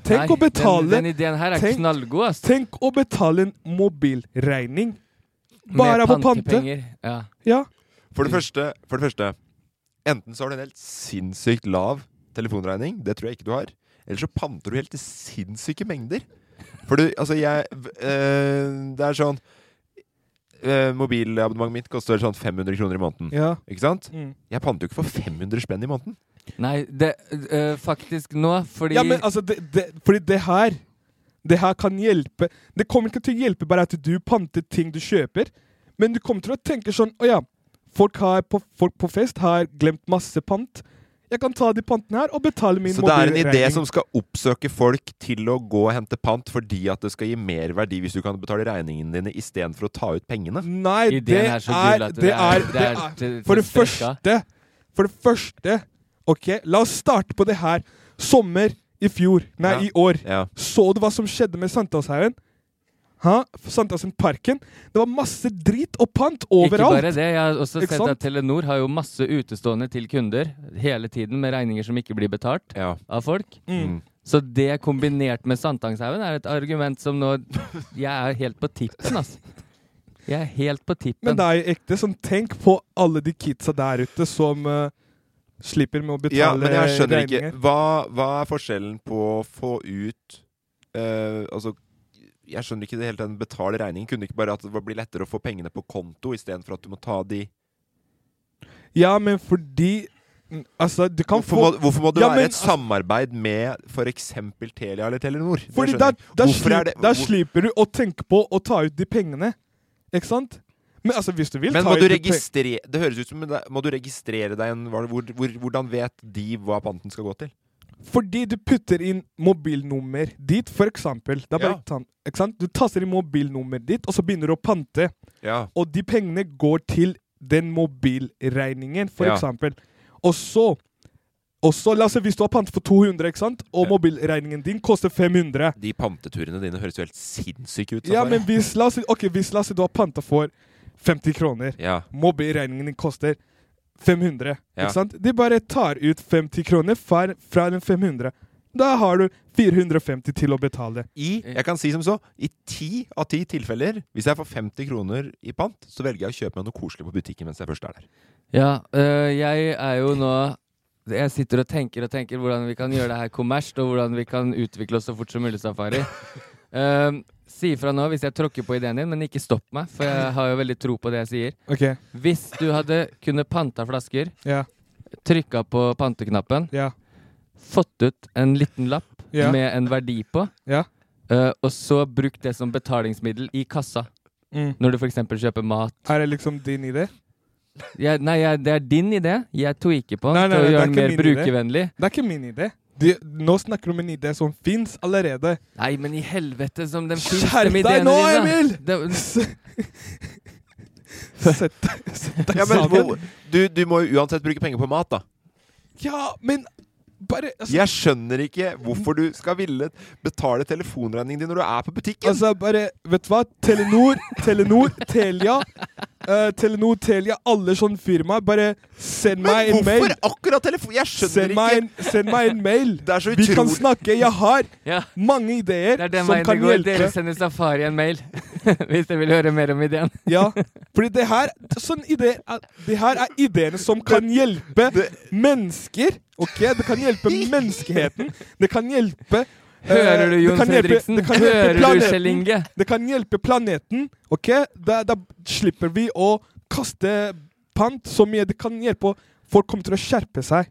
Tenk Nei, å betale den- den ideen her er knallgod, ass. Tenk å betale en mobilregning Med bare av å pante. pantepenger, ja. Ja. For det, første, for det første Enten så har du en helt sinnssykt lav telefonregning. Det tror jeg ikke du har. Eller så panter du helt til sinnssyke mengder. For du, altså jeg v- eh, Det er sånn eh, Mobilabonnementet mitt koster sånn 500 kroner i måneden. Ja. Ikke sant? Mm. Jeg panter jo ikke for 500 spenn i måneden. Nei, det, øh, faktisk nå, fordi Ja, men altså, det, det, fordi det her Det her kan hjelpe. Det kommer ikke til å hjelpe bare at du panter ting du kjøper, men du kommer til å tenke sånn Å ja, folk, har, på, folk på fest har glemt masse pant. Jeg kan ta de pantene her og betale min Så det er en idé mobilregning. som skal oppsøke folk til å gå og hente pant fordi at det skal gi mer verdi hvis du kan betale regningene dine istedenfor å ta ut pengene? Nei, det er, det er, det er For det første For det første Ok, la oss starte på det her. Sommer i fjor. Nei, Ja. i år. Ja. Så du hva som skjedde med Sankthanshaugen? Hæ? Sankthanshaugenparken? Det var masse drit og pant overalt. Ikke bare det, jeg har også Ikke sett sant? at Telenor har jo masse utestående til kunder hele tiden med regninger som ikke blir betalt av folk. Mm. Så det kombinert med Sankthanshaugen er et argument som nå Jeg er helt på tippen, altså. Jeg er helt på tippen. Men det er jo ekte. Sånn, tenk på alle de kidsa der ute som eh, slipper med å betale Ja, men jeg skjønner ikke. regninger. Hva, hva er forskjellen på å få ut eh, Altså, jeg skjønner ikke det hele den betale regningen. Kunne det ikke bare at det blir lettere å få pengene på konto istedenfor at du må ta de Ja, men fordi mm, Altså, du kan Hvorfor få må, hvorfor må det Ja, være men altså- et samarbeid med f.eks. Telia eller Telenor? Det Fordi skjønner da, jeg ikke. da, Hvorfor er slip, det- da hvor- slipper du å tenke på å ta ut de pengene. Ikke sant? Men altså, hvis du vil Men ta må ut du de peng- registrere Det høres ut som det- Må du registrere deg en hva- hvor, hvor, Hvordan vet de hva panten skal gå til? Fordi du putter inn mobilnummer dit, for eksempel. Det er bare Ja. tan- ikke sant? Du taster inn mobilnummeret ditt, og så begynner du å pante. Ja. Og de pengene går til den mobilregningen, for Ja. eksempel. Og så og så, la oss si, Hvis du har pantet for 200, ikke sant? og mobilregningen din koster 500 De panteturene dine høres jo helt sinnssyke ut. Ja, Safari. men hvis, la oss si, ok, hvis la oss si du har panta for 50 kroner. Ja. Mobilregningen din koster 500. Ja. Ikke sant? De bare tar ut 50 kroner fra, fra den 500. Da har du 450 til å betale. I, jeg kan si som så, i ti av ti tilfeller, hvis jeg får 50 kroner i pant, så velger jeg å kjøpe meg noe koselig på butikken mens jeg først er der. Ja, øh, jeg er jo nå Jeg sitter og tenker og tenker hvordan vi kan gjøre det her kommersielt, og hvordan vi kan utvikle oss så fort som mulig, Safari. Ehm, si ifra nå hvis jeg tråkker på ideen din, men ikke stopp meg, for jeg har jo veldig tro på det jeg sier. Ok. Hvis du hadde kunne panta flasker, Ja. trykka på panteknappen, fått ut en liten lapp Ja. med en verdi på, Ja. eh, og så brukt det som betalingsmiddel i kassa Mm. når du f.eks. kjøper mat. Er det liksom din idé? Jeg, nei, jeg, det er din idé. Jeg tweaker på den til å det er gjøre den ikke mer min idé. brukervennlig. Det er ikke min idé. De, nå snakker du om en idé som fins allerede. Nei, men i helvete som den Skjerp deg nå, Emil! Sett deg Ja, men, sammen. hvor- du, du må jo uansett bruke penger på mat, da. Ja, men bare altså, Jeg skjønner ikke hvorfor du skal ville betale telefonregningen din når du er på butikken. altså, bare Vet du hva? Telenor, Telenor, Telia. eh, Telenor, Telia, alle sånne firmaer. Bare send meg en mail. Hvorfor akkurat telefon? Jeg skjønner Send meg, en, ikke. send meg en mail. Vi utrolig- kan snakke. Jeg har mange ideer Det er den som veien det kan går. hjelpe. Dere sender Safari en mail hvis dere vil høre mer om ideen. Ja, fordi det her, sånn ide, er- det her er ideene som kan hjelpe mennesker. Ok, Det kan hjelpe menneskeheten. Det kan hjelpe eh, Hører du, det Jon kan hjelpe- Fredriksen? det kan hjelpe Hører du, planeten. Kjell Inge? Det kan hjelpe planeten. ok? Da, da slipper vi å kaste pant så mye. Det kan hjelpe å Folk kommer til å skjerpe seg.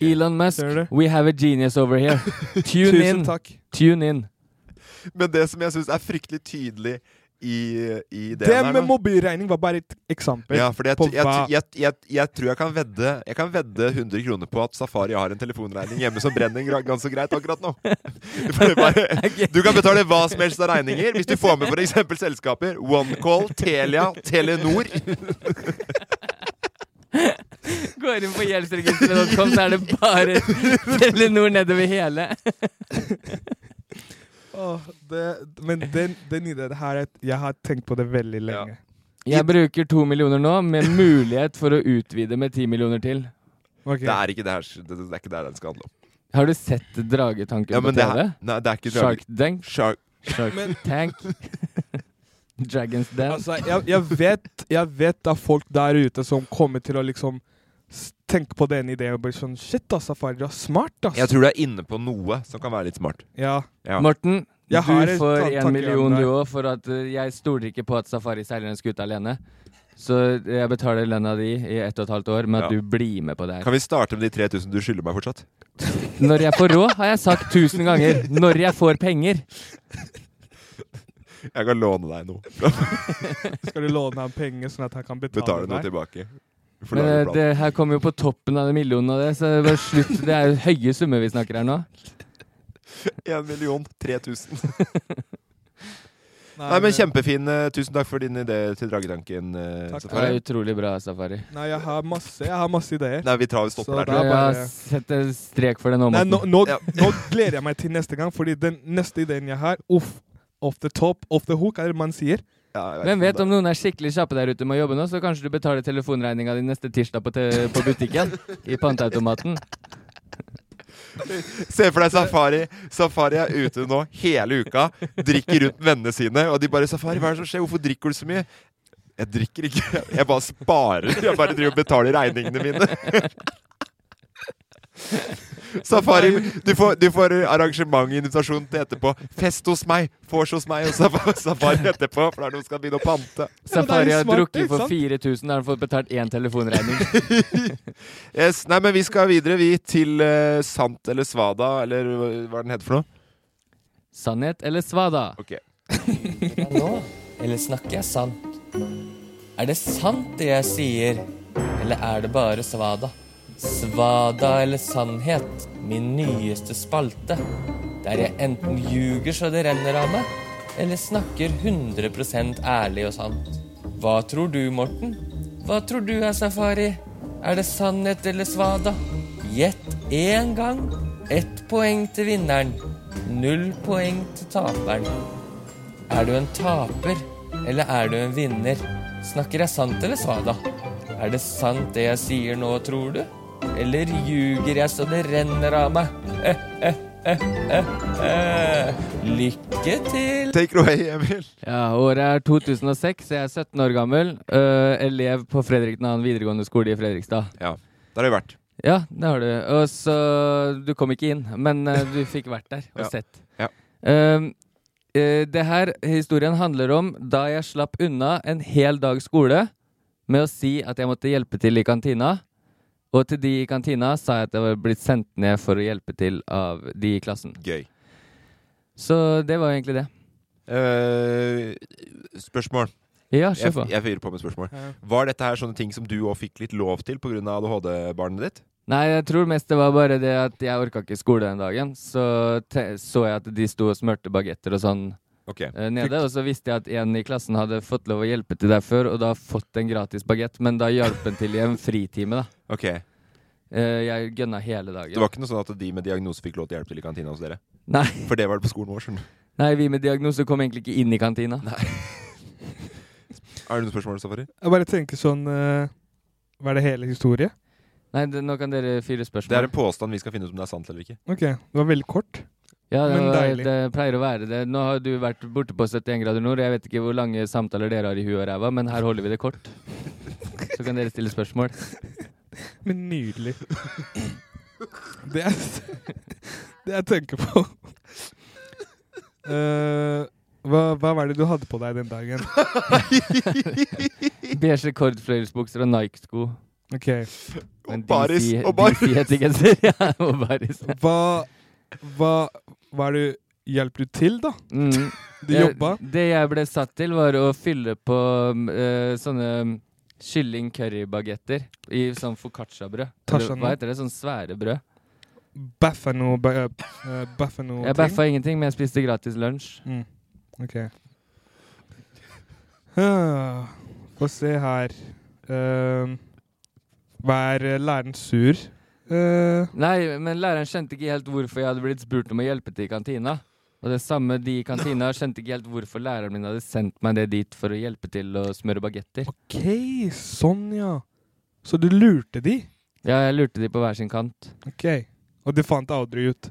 Elon Musk, we have a genius over here. Tune Tusen in. takk. Tune in. Men det som jeg syns er fryktelig tydelig i, i ideen Det her med nå- mobilregning var bare et eksempel. Ja, fordi jeg, på t- jeg, hva- t- jeg, jeg, jeg tror jeg kan vedde Jeg kan vedde 100 kroner på at Safari har en telefonregning hjemme som brenner gra- ganske greit akkurat nå. For det bare, du kan betale hva som helst av regninger hvis du får med f.eks. selskaper OneCall, Telia, Telenor. Går inn på gjeldsregisteret.com, så er det bare Telenor nedover hele. Åh, det, men den, den ideen her er- Jeg har tenkt på det veldig lenge. Jeg bruker to millioner nå, med mulighet for å utvide med ti millioner til. Det er ikke det her det, det er ikke det her den skal handle om. Har du sett Dragetanken Ja, på men det TV? her- nei, det er ikke drage- Shark Tank? Shark, Shark Men- Tank? Dragons Den? Altså, jeg, jeg, vet, jeg vet det er folk der ute som kommer til å liksom s- tenke på den ideen og bli sånn Shit, da, Safari, du er smart, ass. Jeg tror du er inne på noe som kan være litt smart. Ja. Morten, Jeg har du et får ta- én tanke million igjen der. du òg, for at eh, jeg stoler ikke på at Safari seiler en skute alene. Så eh, jeg betaler lønna di i ett og et halvt år med at Ja. du blir med på det her. Kan vi starte med de 3000 du skylder meg fortsatt? Når jeg får råd, har jeg sagt tusen ganger. Når jeg får penger. Jeg kan låne deg noe. Skal du låne ham penger sånn at han kan betale, Betale noe deg? tilbake. Du får Men lage eh, en plan. det her kommer jo på toppen av den millionen og det, så det er bare slutt. Det er jo høye summer vi snakker her nå. En million 3000. Nei, men kjempefin. eh, Tusen takk for din idé til Dragetanken. eh, Takk. Det er Safari. utrolig bra, Safari. Nei, jeg har masse, jeg har masse ideer. Nei, vi tar- vi stopper Så der. det er Jeg bare- har sett en strek for det nå, Nei, Morten. nå, nå, nå gleder jeg meg til neste gang, fordi den neste ideen jeg har Uff, off the top, off the hook, er det man sier. Hvem vet om noen er skikkelig kjappe der ute med å jobbe nå, så kanskje du betaler telefonregninga di neste tirsdag på, te- på butikken? I panteautomaten. Se for deg Safari. Safari er ute nå hele uka, drikker rundt vennene sine, og de bare 'Safari, hva er det som skjer? Hvorfor drikker du så mye?' Jeg drikker ikke. Jeg bare sparer. Jeg bare driver og betaler regningene mine. Safari, du får, du får arrangement og invitasjon til etterpå. Fest hos meg! Vors hos meg og Safari, safari etterpå, for det er noen som skal begynne å pante. Safari har drukket for sant? 4000, har han fått betalt én telefonregning. Yes, nei, men vi skal videre, vi, til eh, Sant eller Svada, eller hva hva den heter for noe? Sannhet eller svada? Ok. Nå? Eller snakker jeg sant? Er det sant det jeg sier? Eller er det bare svada? Svada eller sannhet? Min nyeste spalte. Der jeg enten ljuger så det renner av meg, eller snakker 100 ærlig og sant. Hva tror du, Morten? Hva tror du er safari? Er det sannhet eller svada? Gjett én gang. Ett poeng til vinneren. Null poeng til taperen. Er du en taper, eller er du en vinner? Snakker jeg sant eller svada? Er det sant det jeg sier nå, tror du? Eller ljuger jeg så det renner av meg? Eh, eh, Lykke til! Take it away, Emil. Ja, Året er 2006, jeg er 17 år gammel. øh, elev på Fredrik 2. videregående skole i Fredrikstad. Ja, Der har vi vært. Ja, det har du. Og så Du kom ikke inn, men øh, du fikk vært der og Ja. sett. Ja. Ehm, eh, det her historien handler om da jeg slapp unna en hel dag skole med å si at jeg måtte hjelpe til i kantina. Og til de i kantina sa jeg at jeg var blitt sendt ned for å hjelpe til av de i klassen. Gøy. Så det var egentlig det. Eh, spørsmål. Ja, kjør på. Jeg, jeg fyrer på med spørsmål. Ja. Var dette her sånne ting som du òg fikk litt lov til pga. ADHD-barnet ditt? Nei, jeg tror mest det var bare det at jeg orka ikke skole den dagen. Så te så jeg at de sto og smurte bagetter og sånn Ok. eh, nede. Og så visste jeg at en i klassen hadde fått lov å hjelpe til der før, og da fått en gratis bagett, men da hjalp han til i en fritime, da. Ok. Eh, jeg gønna hele dagen. Det var ikke noe sånn at de med diagnose fikk lov til å hjelpe til i kantina hos dere? Nei. For det var det på skolen vår. skjønner du. Nei, vi med diagnose kom egentlig ikke inn i kantina. Er det noen spørsmål, Safari? Jeg bare tenker sånn eh, Hva er det hele historie? Nei, det, nå kan dere fyre spørsmål. Det er en påstand vi skal finne ut om det er sant eller ikke. Ok, det var veldig kort. Ja, det, Men var, deilig. det pleier å være det. Nå har du vært borte på 71 grader nord. Jeg vet ikke hvor lange samtaler dere har i huet og ræva, men her holder vi det kort. Så kan dere stille spørsmål. Men nydelig. Det jeg, det jeg tenker på Eh, hva, hva var det du hadde på deg den dagen? Beige kordfløyelsbukser og Nike-sko. Ok. Men Og baris, DC og baris. DC-hettegenser. Ja, og baris. Hva, hva var det Hjalp du til, da? Mm. Du Jeg- jobba? Det jeg ble satt til, var å fylle på mm, eh, sånne kylling-currybagetter i sånn foccaccia-brød. Eller Tarzan. Hva heter det? Sånn svære brød. Baffa noe ba- eh, Baffa noe Jeg baffa ingenting, men jeg spiste gratis lunsj. Mm. Ok. Ah, Få se her Ehm, Hva er eh, læreren sur? Eh, Nei, men læreren skjønte ikke helt hvorfor jeg hadde blitt spurt om å hjelpe til i kantina. Og det samme de i kantina skjønte ikke helt hvorfor læreren min hadde sendt meg det dit for å hjelpe til å smøre bagetter. Ok, sånn ja. Så du lurte de? Ja, jeg lurte de på hver sin kant. Ok. Og det fant aldri ut?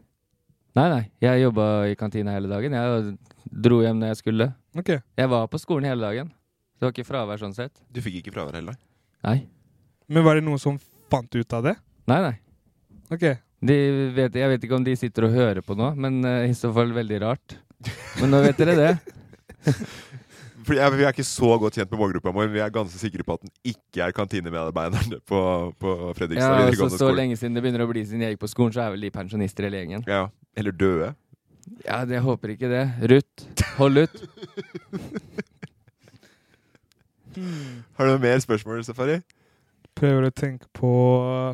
Nei, nei, jeg jobba i kantina hele dagen. Jeg dro hjem når jeg skulle. Ok. Jeg var på skolen hele dagen. Det var ikke fravær sånn sett. Du fikk ikke fravær heller? Nei. Men var det noen som fant ut av det? Nei, nei. Ok. De vet, jeg vet ikke om de sitter og hører på nå, men eh, i så fall veldig rart. Men nå vet dere det. For jeg, Vi er ikke så godt kjent med målgruppa vår, men vi er ganske sikre på at den ikke er kantinemedarbeideren på, på Fredrikstad Ja, altså, videregående så skole. lenge siden det begynner å bli siden jeg gikk på skolen, så er vel de pensjonister hele gjengen. Ja, Eller døde. Ja, det jeg håper ikke det. Ruth, hold ut. Har du noe mer spørsmål, Safari? Prøver å tenke på,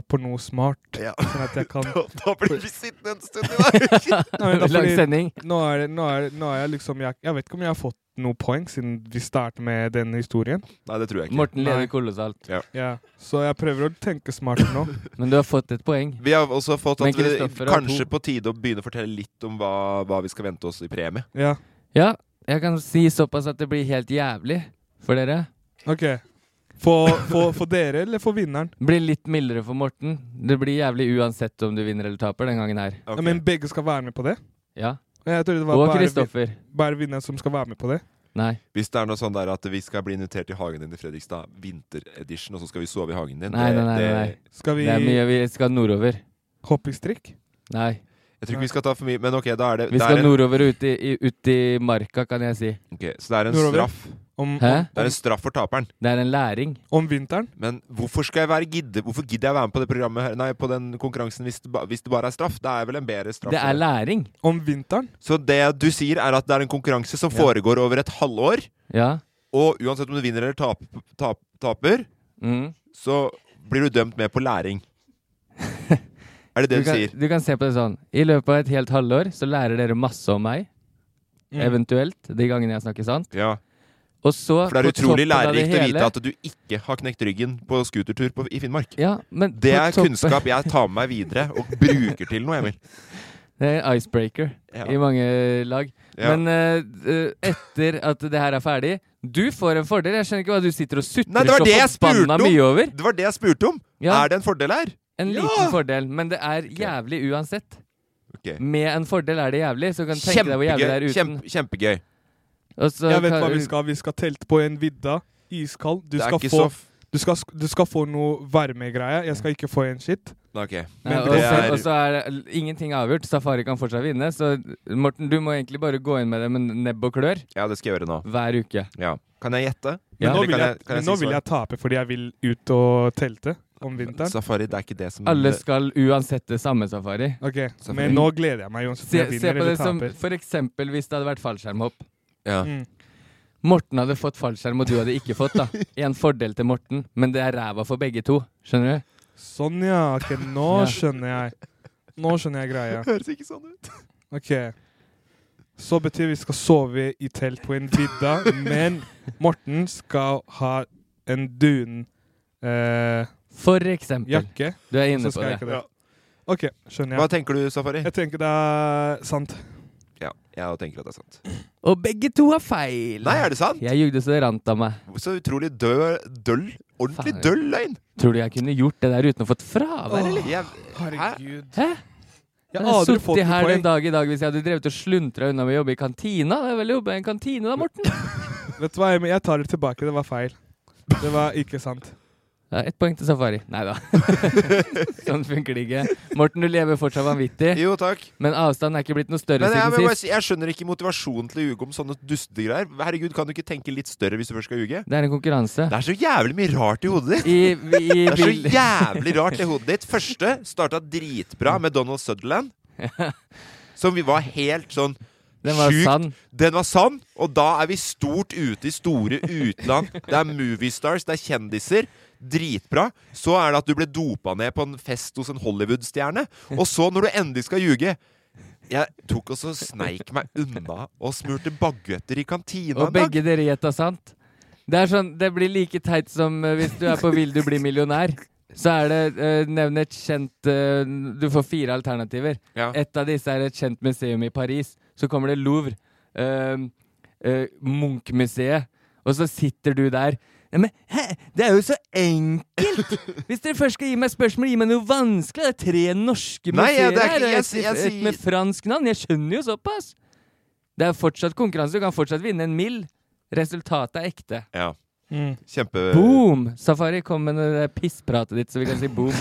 på noe smart. Sånn at jeg kan Da, da blir vi sittende en stund i dag! Nei, men da, fordi Nå er, det, nå, er det, nå er jeg liksom jeg, jeg vet ikke om jeg har fått noe poeng siden vi starter med denne historien. Nei, det tror jeg ikke. Morten Nei. leder kolossalt. Ja, så jeg prøver å tenke smart nå. Men du har fått et poeng. Vi har også fått Men at det Kristoffer har kanskje to. på tide å begynne å fortelle litt om hva, hva vi skal vente oss i premie. Ja. Ja, jeg kan si såpass at det blir helt jævlig for dere. Ok. For, for, for dere eller for vinneren? Det blir litt mildere for Morten. Det blir jævlig uensett om du vinner eller taper den gangen her. Ja, men begge skal være med på det? Ja. Og jeg trodde det var Og bare, Kristoffer. vin- bare vinneren som skal være med på det. Nei. Hvis det er noe sånn der at vi skal bli invitert i hagen din i Fredrikstad, vinteredition, og så skal vi sove i hagen din Nei, nei, nei. nei, nei. Skal vi- Det er mye. Vi skal nordover. Hoppingstrikk? Nei. Jeg tror ikke vi skal ta for mye, men ok, da er det Vi det skal er en, nordover og ut i, i, ut i marka, kan jeg si. Ok, Så det er en Nordover. straff. Om- Hæ? Det er en straff for taperen. Det er en læring. Om vinteren? Men hvorfor skal jeg være gidde? Hvorfor gidder jeg være med på det programmet her? Nei, på den konkurransen hvis det, ba, hvis det bare er straff? Det er vel en bedre straff. Det er læring. Om vinteren? Så det du sier, er at det er en konkurranse som foregår over et halvår, Ja. og uansett om du vinner eller tap, tap, taper, Mm. så blir du dømt med på læring. er det det du du, kan, sier? Du kan se på det sånn. I løpet av et helt halvår så lærer dere masse om meg. Mm. Eventuelt. De gangene jeg snakker sant. Ja. Og så For det er på utrolig toppen av det lærerikt å hele- vite at du ikke har knekt ryggen på scootertur på, i Finnmark. Ja, men det på er toppen- kunnskap jeg tar med meg videre og bruker til noe, Emil. Det er icebreaker Ja. i mange lag. Ja. Men eh, eh, etter at det her er ferdig Du får en fordel. Jeg skjønner ikke hva du sitter og Nei, sutrer det var så det jeg forbanna spurte om! mye over. Det var det jeg spurte om! Ja. Er det en fordel her? En liten fordel, men det er jævlig uansett. Kjempegøy. Med en fordel er det jævlig, så du kan tenke deg hvor jævlig det er uten. Kjempe, kjempegøy. Og så Jeg vet kan- hva vi skal. Vi skal telte på en vidda. Iskald. Du, Det er skal ikke få- så f- du, skal, du skal få noe varmegreier. Jeg skal ikke få en shit. Nei, ok. Men Ja, og, det så, er- og så er det ingenting avgjort. Safari kan fortsatt vinne. Så Morten, du må egentlig bare gå inn med det med nebb og klør. Ja, det skal jeg gjøre nå. Hver uke. Ja. Kan jeg gjette? Men nå Eller vil kan jeg, kan men si nå vil svar? jeg tape fordi jeg vil ut og telte om vinteren. Safari, det er ikke det som Alle skal uansett det samme safari. Ok, Safari. men nå gleder jeg meg, Jon, om Se, jeg se vinner på eller det som taper. for eksempel hvis det hadde vært fallskjermhopp. Ja. Mm. Morten hadde fått fallskjerm, og du hadde ikke fått. da En fordel til Morten, men det er ræva for begge to. Skjønner du? Sånn, ja. Ok, nå Ja. skjønner jeg. Nå skjønner jeg greia. Høres ikke sånn ut. Ok. Så betyr vi skal sove i telt på en vidda, men Morten skal ha en dun... Eh, For eksempel. Jakke. Du er inne Så på skal jeg det. ikke Ok, skjønner jeg. Hva tenker du, Safari? Jeg tenker det er sant. Ja, jeg tenker at det er sant. Og begge to har feil! Nei, er det sant? Jeg jugde så det rant av meg. Så utrolig dø, døll. Ordentlig Faen. døll løgn. Tror du jeg kunne gjort det der uten å fått fravær, eller? Jeg- Herregud. Hæ? Jeg Jeg har hadde aldri fått sittet noe her den poeng. dag i dag hvis jeg hadde drevet og sluntra unna med å jobbe i kantina. Det er vel å jobbe i en kantine da, Morten? Vet du hva, Emil, jeg tar det tilbake. Det var feil. Det var ikke sant. Ja, Ett poeng til safari. Nei da. sånn funker det ikke. Morten, du lever fortsatt vanvittig. Jo, takk. Men avstanden er ikke blitt noe større Men jeg, må siden bare sist. si- jeg skjønner ikke motivasjonen til å ljuge om sånne dustegreier. Herregud, kan du ikke tenke litt større hvis du først skal ljuge? Det er en konkurranse. Det er så jævlig mye rart i hodet ditt. I- i- det er så vil- jævlig rart i hodet ditt. Første starta dritbra med Donald Sutherland. Som vi var helt sånn Den var sjukt- sann. Den var sann, og da er vi stort ute i store utland. Det er moviestars, det er kjendiser. Dritbra. Så er det at du ble dopa ned på en fest hos en Hollywood-stjerne. Og så, når du endelig skal ljuge Jeg tok og så sneik meg unna og smurte baguetter i kantina Og en dag. begge dere gjetta sant. Det, er sånn, det blir like teit som eh, hvis du er på Vil du bli millionær. Så er det eh, nevn et kjent eh, Du får fire alternativer. Ja. Et av disse er et kjent museum i Paris. Så kommer det Louvre. Uh, Munch-museet. Og så sitter du der. Ja, men hæ? Det er jo så enkelt! Hvis dere først skal gi meg spørsmål, gi meg noe vanskelig. Det er tre norske Nei, ja, museer det er ikke- her, og jeg et- sier- jeg et sier- med fransk navn. Jeg skjønner jo såpass! Det er fortsatt konkurranse. Du kan fortsatt vinne en mill. Resultatet er ekte. Ja. Mm. Kjempe... Boom! Safari, kom med det der pisspratet ditt, så vi kan si boom.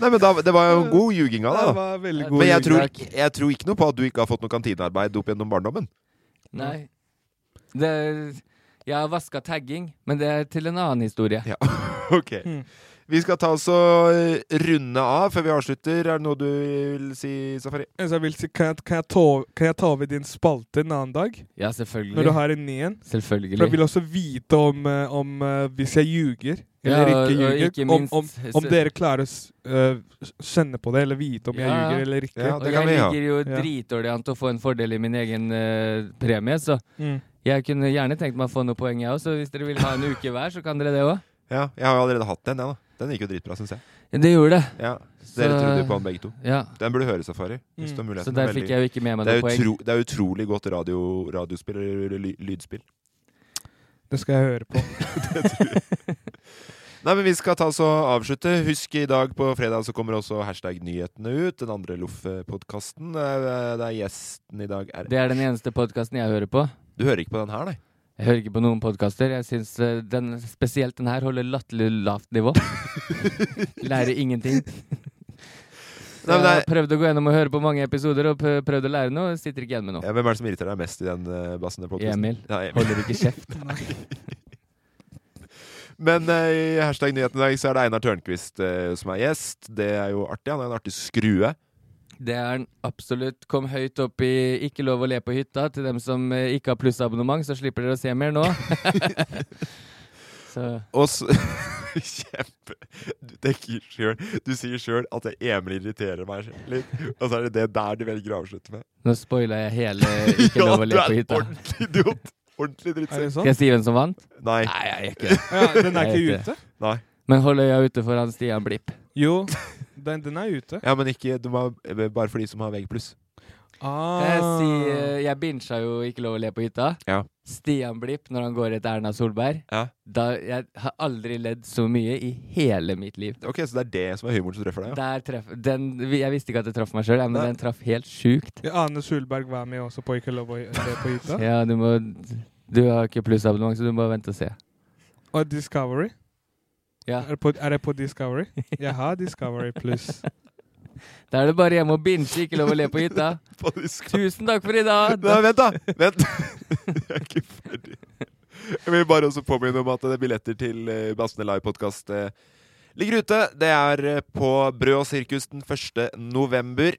Nei, men da, det var jo god ljuging av Det deg, da. var veldig god Men jeg tror, gjort. jeg tror ikke noe på at du ikke har fått noe kantinearbeid opp gjennom barndommen. Nei. Det Jeg har vaska tagging, men det er til en annen historie. Ja, ok. Vi skal ta oss og eh, runde av før vi avslutter. Er det noe du vil si, Safari? Men så jeg vil si, kan, jeg, kan, jeg ta, kan jeg ta over din spalte en annen dag? Ja, selvfølgelig. Når du har en ny en? For jeg Selvfølgelig. vil også vite om, eh, om eh, hvis jeg ljuger eller Ja, og- ikke og ljuger. ikke om, minst- om, om dere klarer å s- eh, kjenne på det, eller vite om jeg Ja, ja. ljuger eller ikke. Ja, Og det jeg kan vi ha. ligger jo Ja. dritdårlig an til å få en fordel i min egen eh, premie, så Mm. jeg kunne gjerne tenkt meg å få noen poeng, jeg òg. Så hvis dere vil ha en uke hver, så kan dere det òg. Ja, jeg har jo allerede hatt den, jeg, da. Den gikk jo dritbra, syns jeg. Det gjorde det. Ja, så Dere Så- trodde jo på han begge to. Ja. Den burde høre Safari. Hvis du Mm. har muligheten. Så der fikk jeg jo ikke med meg det noen er, poeng. utro, det er utrolig godt radio, radiospill eller ly- lydspill. Det skal jeg høre på. Nei, men Vi skal ta oss og avslutte. Husk i dag på fredag så kommer også hashtag nyhetene ut. Den andre Loff-podkasten. Det er gjesten i dag er Det er den eneste podkasten jeg hører på. Du hører ikke på den her, nei? Jeg hører ikke på noen podkaster. Jeg syns den, spesielt den her holder latterlig lavt nivå. Lærer ingenting. Så Nei, men jeg det har er- prøvd å gå gjennom og høre på mange episoder og p- prøvd å lære noe. Sitter ikke igjen med noe. Ja, hvem er det som irriterer deg mest i den eh, bassen? der podcasten? Emil. Ja, Emil. Holder ikke kjeft. Men eh, i hashtag nyheten i dag så er det Einar Tørnquist eh, som er gjest. Det er jo artig. Han er en artig skrue. Det er den absolutt. Kom høyt opp i Ikke lov å le på hytta. Til dem som eh, ikke har plussabonnement, så slipper dere å se mer nå. så Og så Kjempe Du tenker sjøl Du sier sjøl at det Emil irriterer meg litt. Og så er det det der du velger å avslutte med. nå spoila jeg hele Ikke lov å du le er på en hytta. ordentlig idiot. Ordentlig Er det drittsekk. Skal sånn? jeg si hvem som vant? Nei. Nei, jeg gjør ikke det. Ja, den er Jeg ikke vet ute? Nei. Men hold øya ute for han Stian Blipp. Jo, den, den er ute. Ja, men ikke du må, Bare for de som har VG+. Ah. Kan jeg si eh, Jeg bincha jo Ikke lov å le på hytta. Ah. Ja. Stian Blipp, når han går etter Erna Solberg Ja. da, Jeg har aldri ledd så mye i hele mitt liv. Ok, Så det er det som er humoren som treffer deg? Ja. Der treff, den, jeg visste ikke at det traff meg sjøl, men Nei. den traff helt sjukt. Ja, Ane Solberg var med også på Ikke lov å le på hytta. Ja, du må Du har ikke plussabonnement, så du må vente og se. Og Discovery. Ja. Er, det på, er det på Discovery? Jeg har Discovery pluss. Da er det bare hjemme og binche, ikke lov å le på hytta. Tusen takk for i dag. Nei, vent, da! Vent. Jeg er ikke ferdig. Jeg vil bare også påminne om at det er billetter til eh, Bassene Live-podkast ligger ute. Det er eh, på Brød og sirkus den 1. november.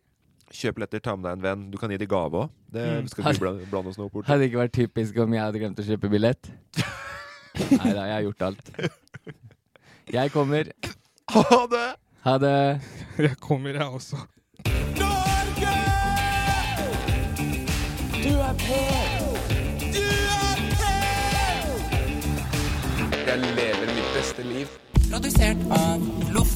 Kjøp billetter, ta med deg en venn. Du kan gi dem gave òg. Mm. Vi skal ikke blande, blande oss noe bort. Hadde ikke vært typisk om jeg hadde glemt å kjøpe billett. Nei da, jeg har gjort alt. Jeg kommer. Ha det! Ha det. Jeg kommer, jeg også. Du er på! Du er på! Jeg lever mitt beste liv. Produsert av Loff.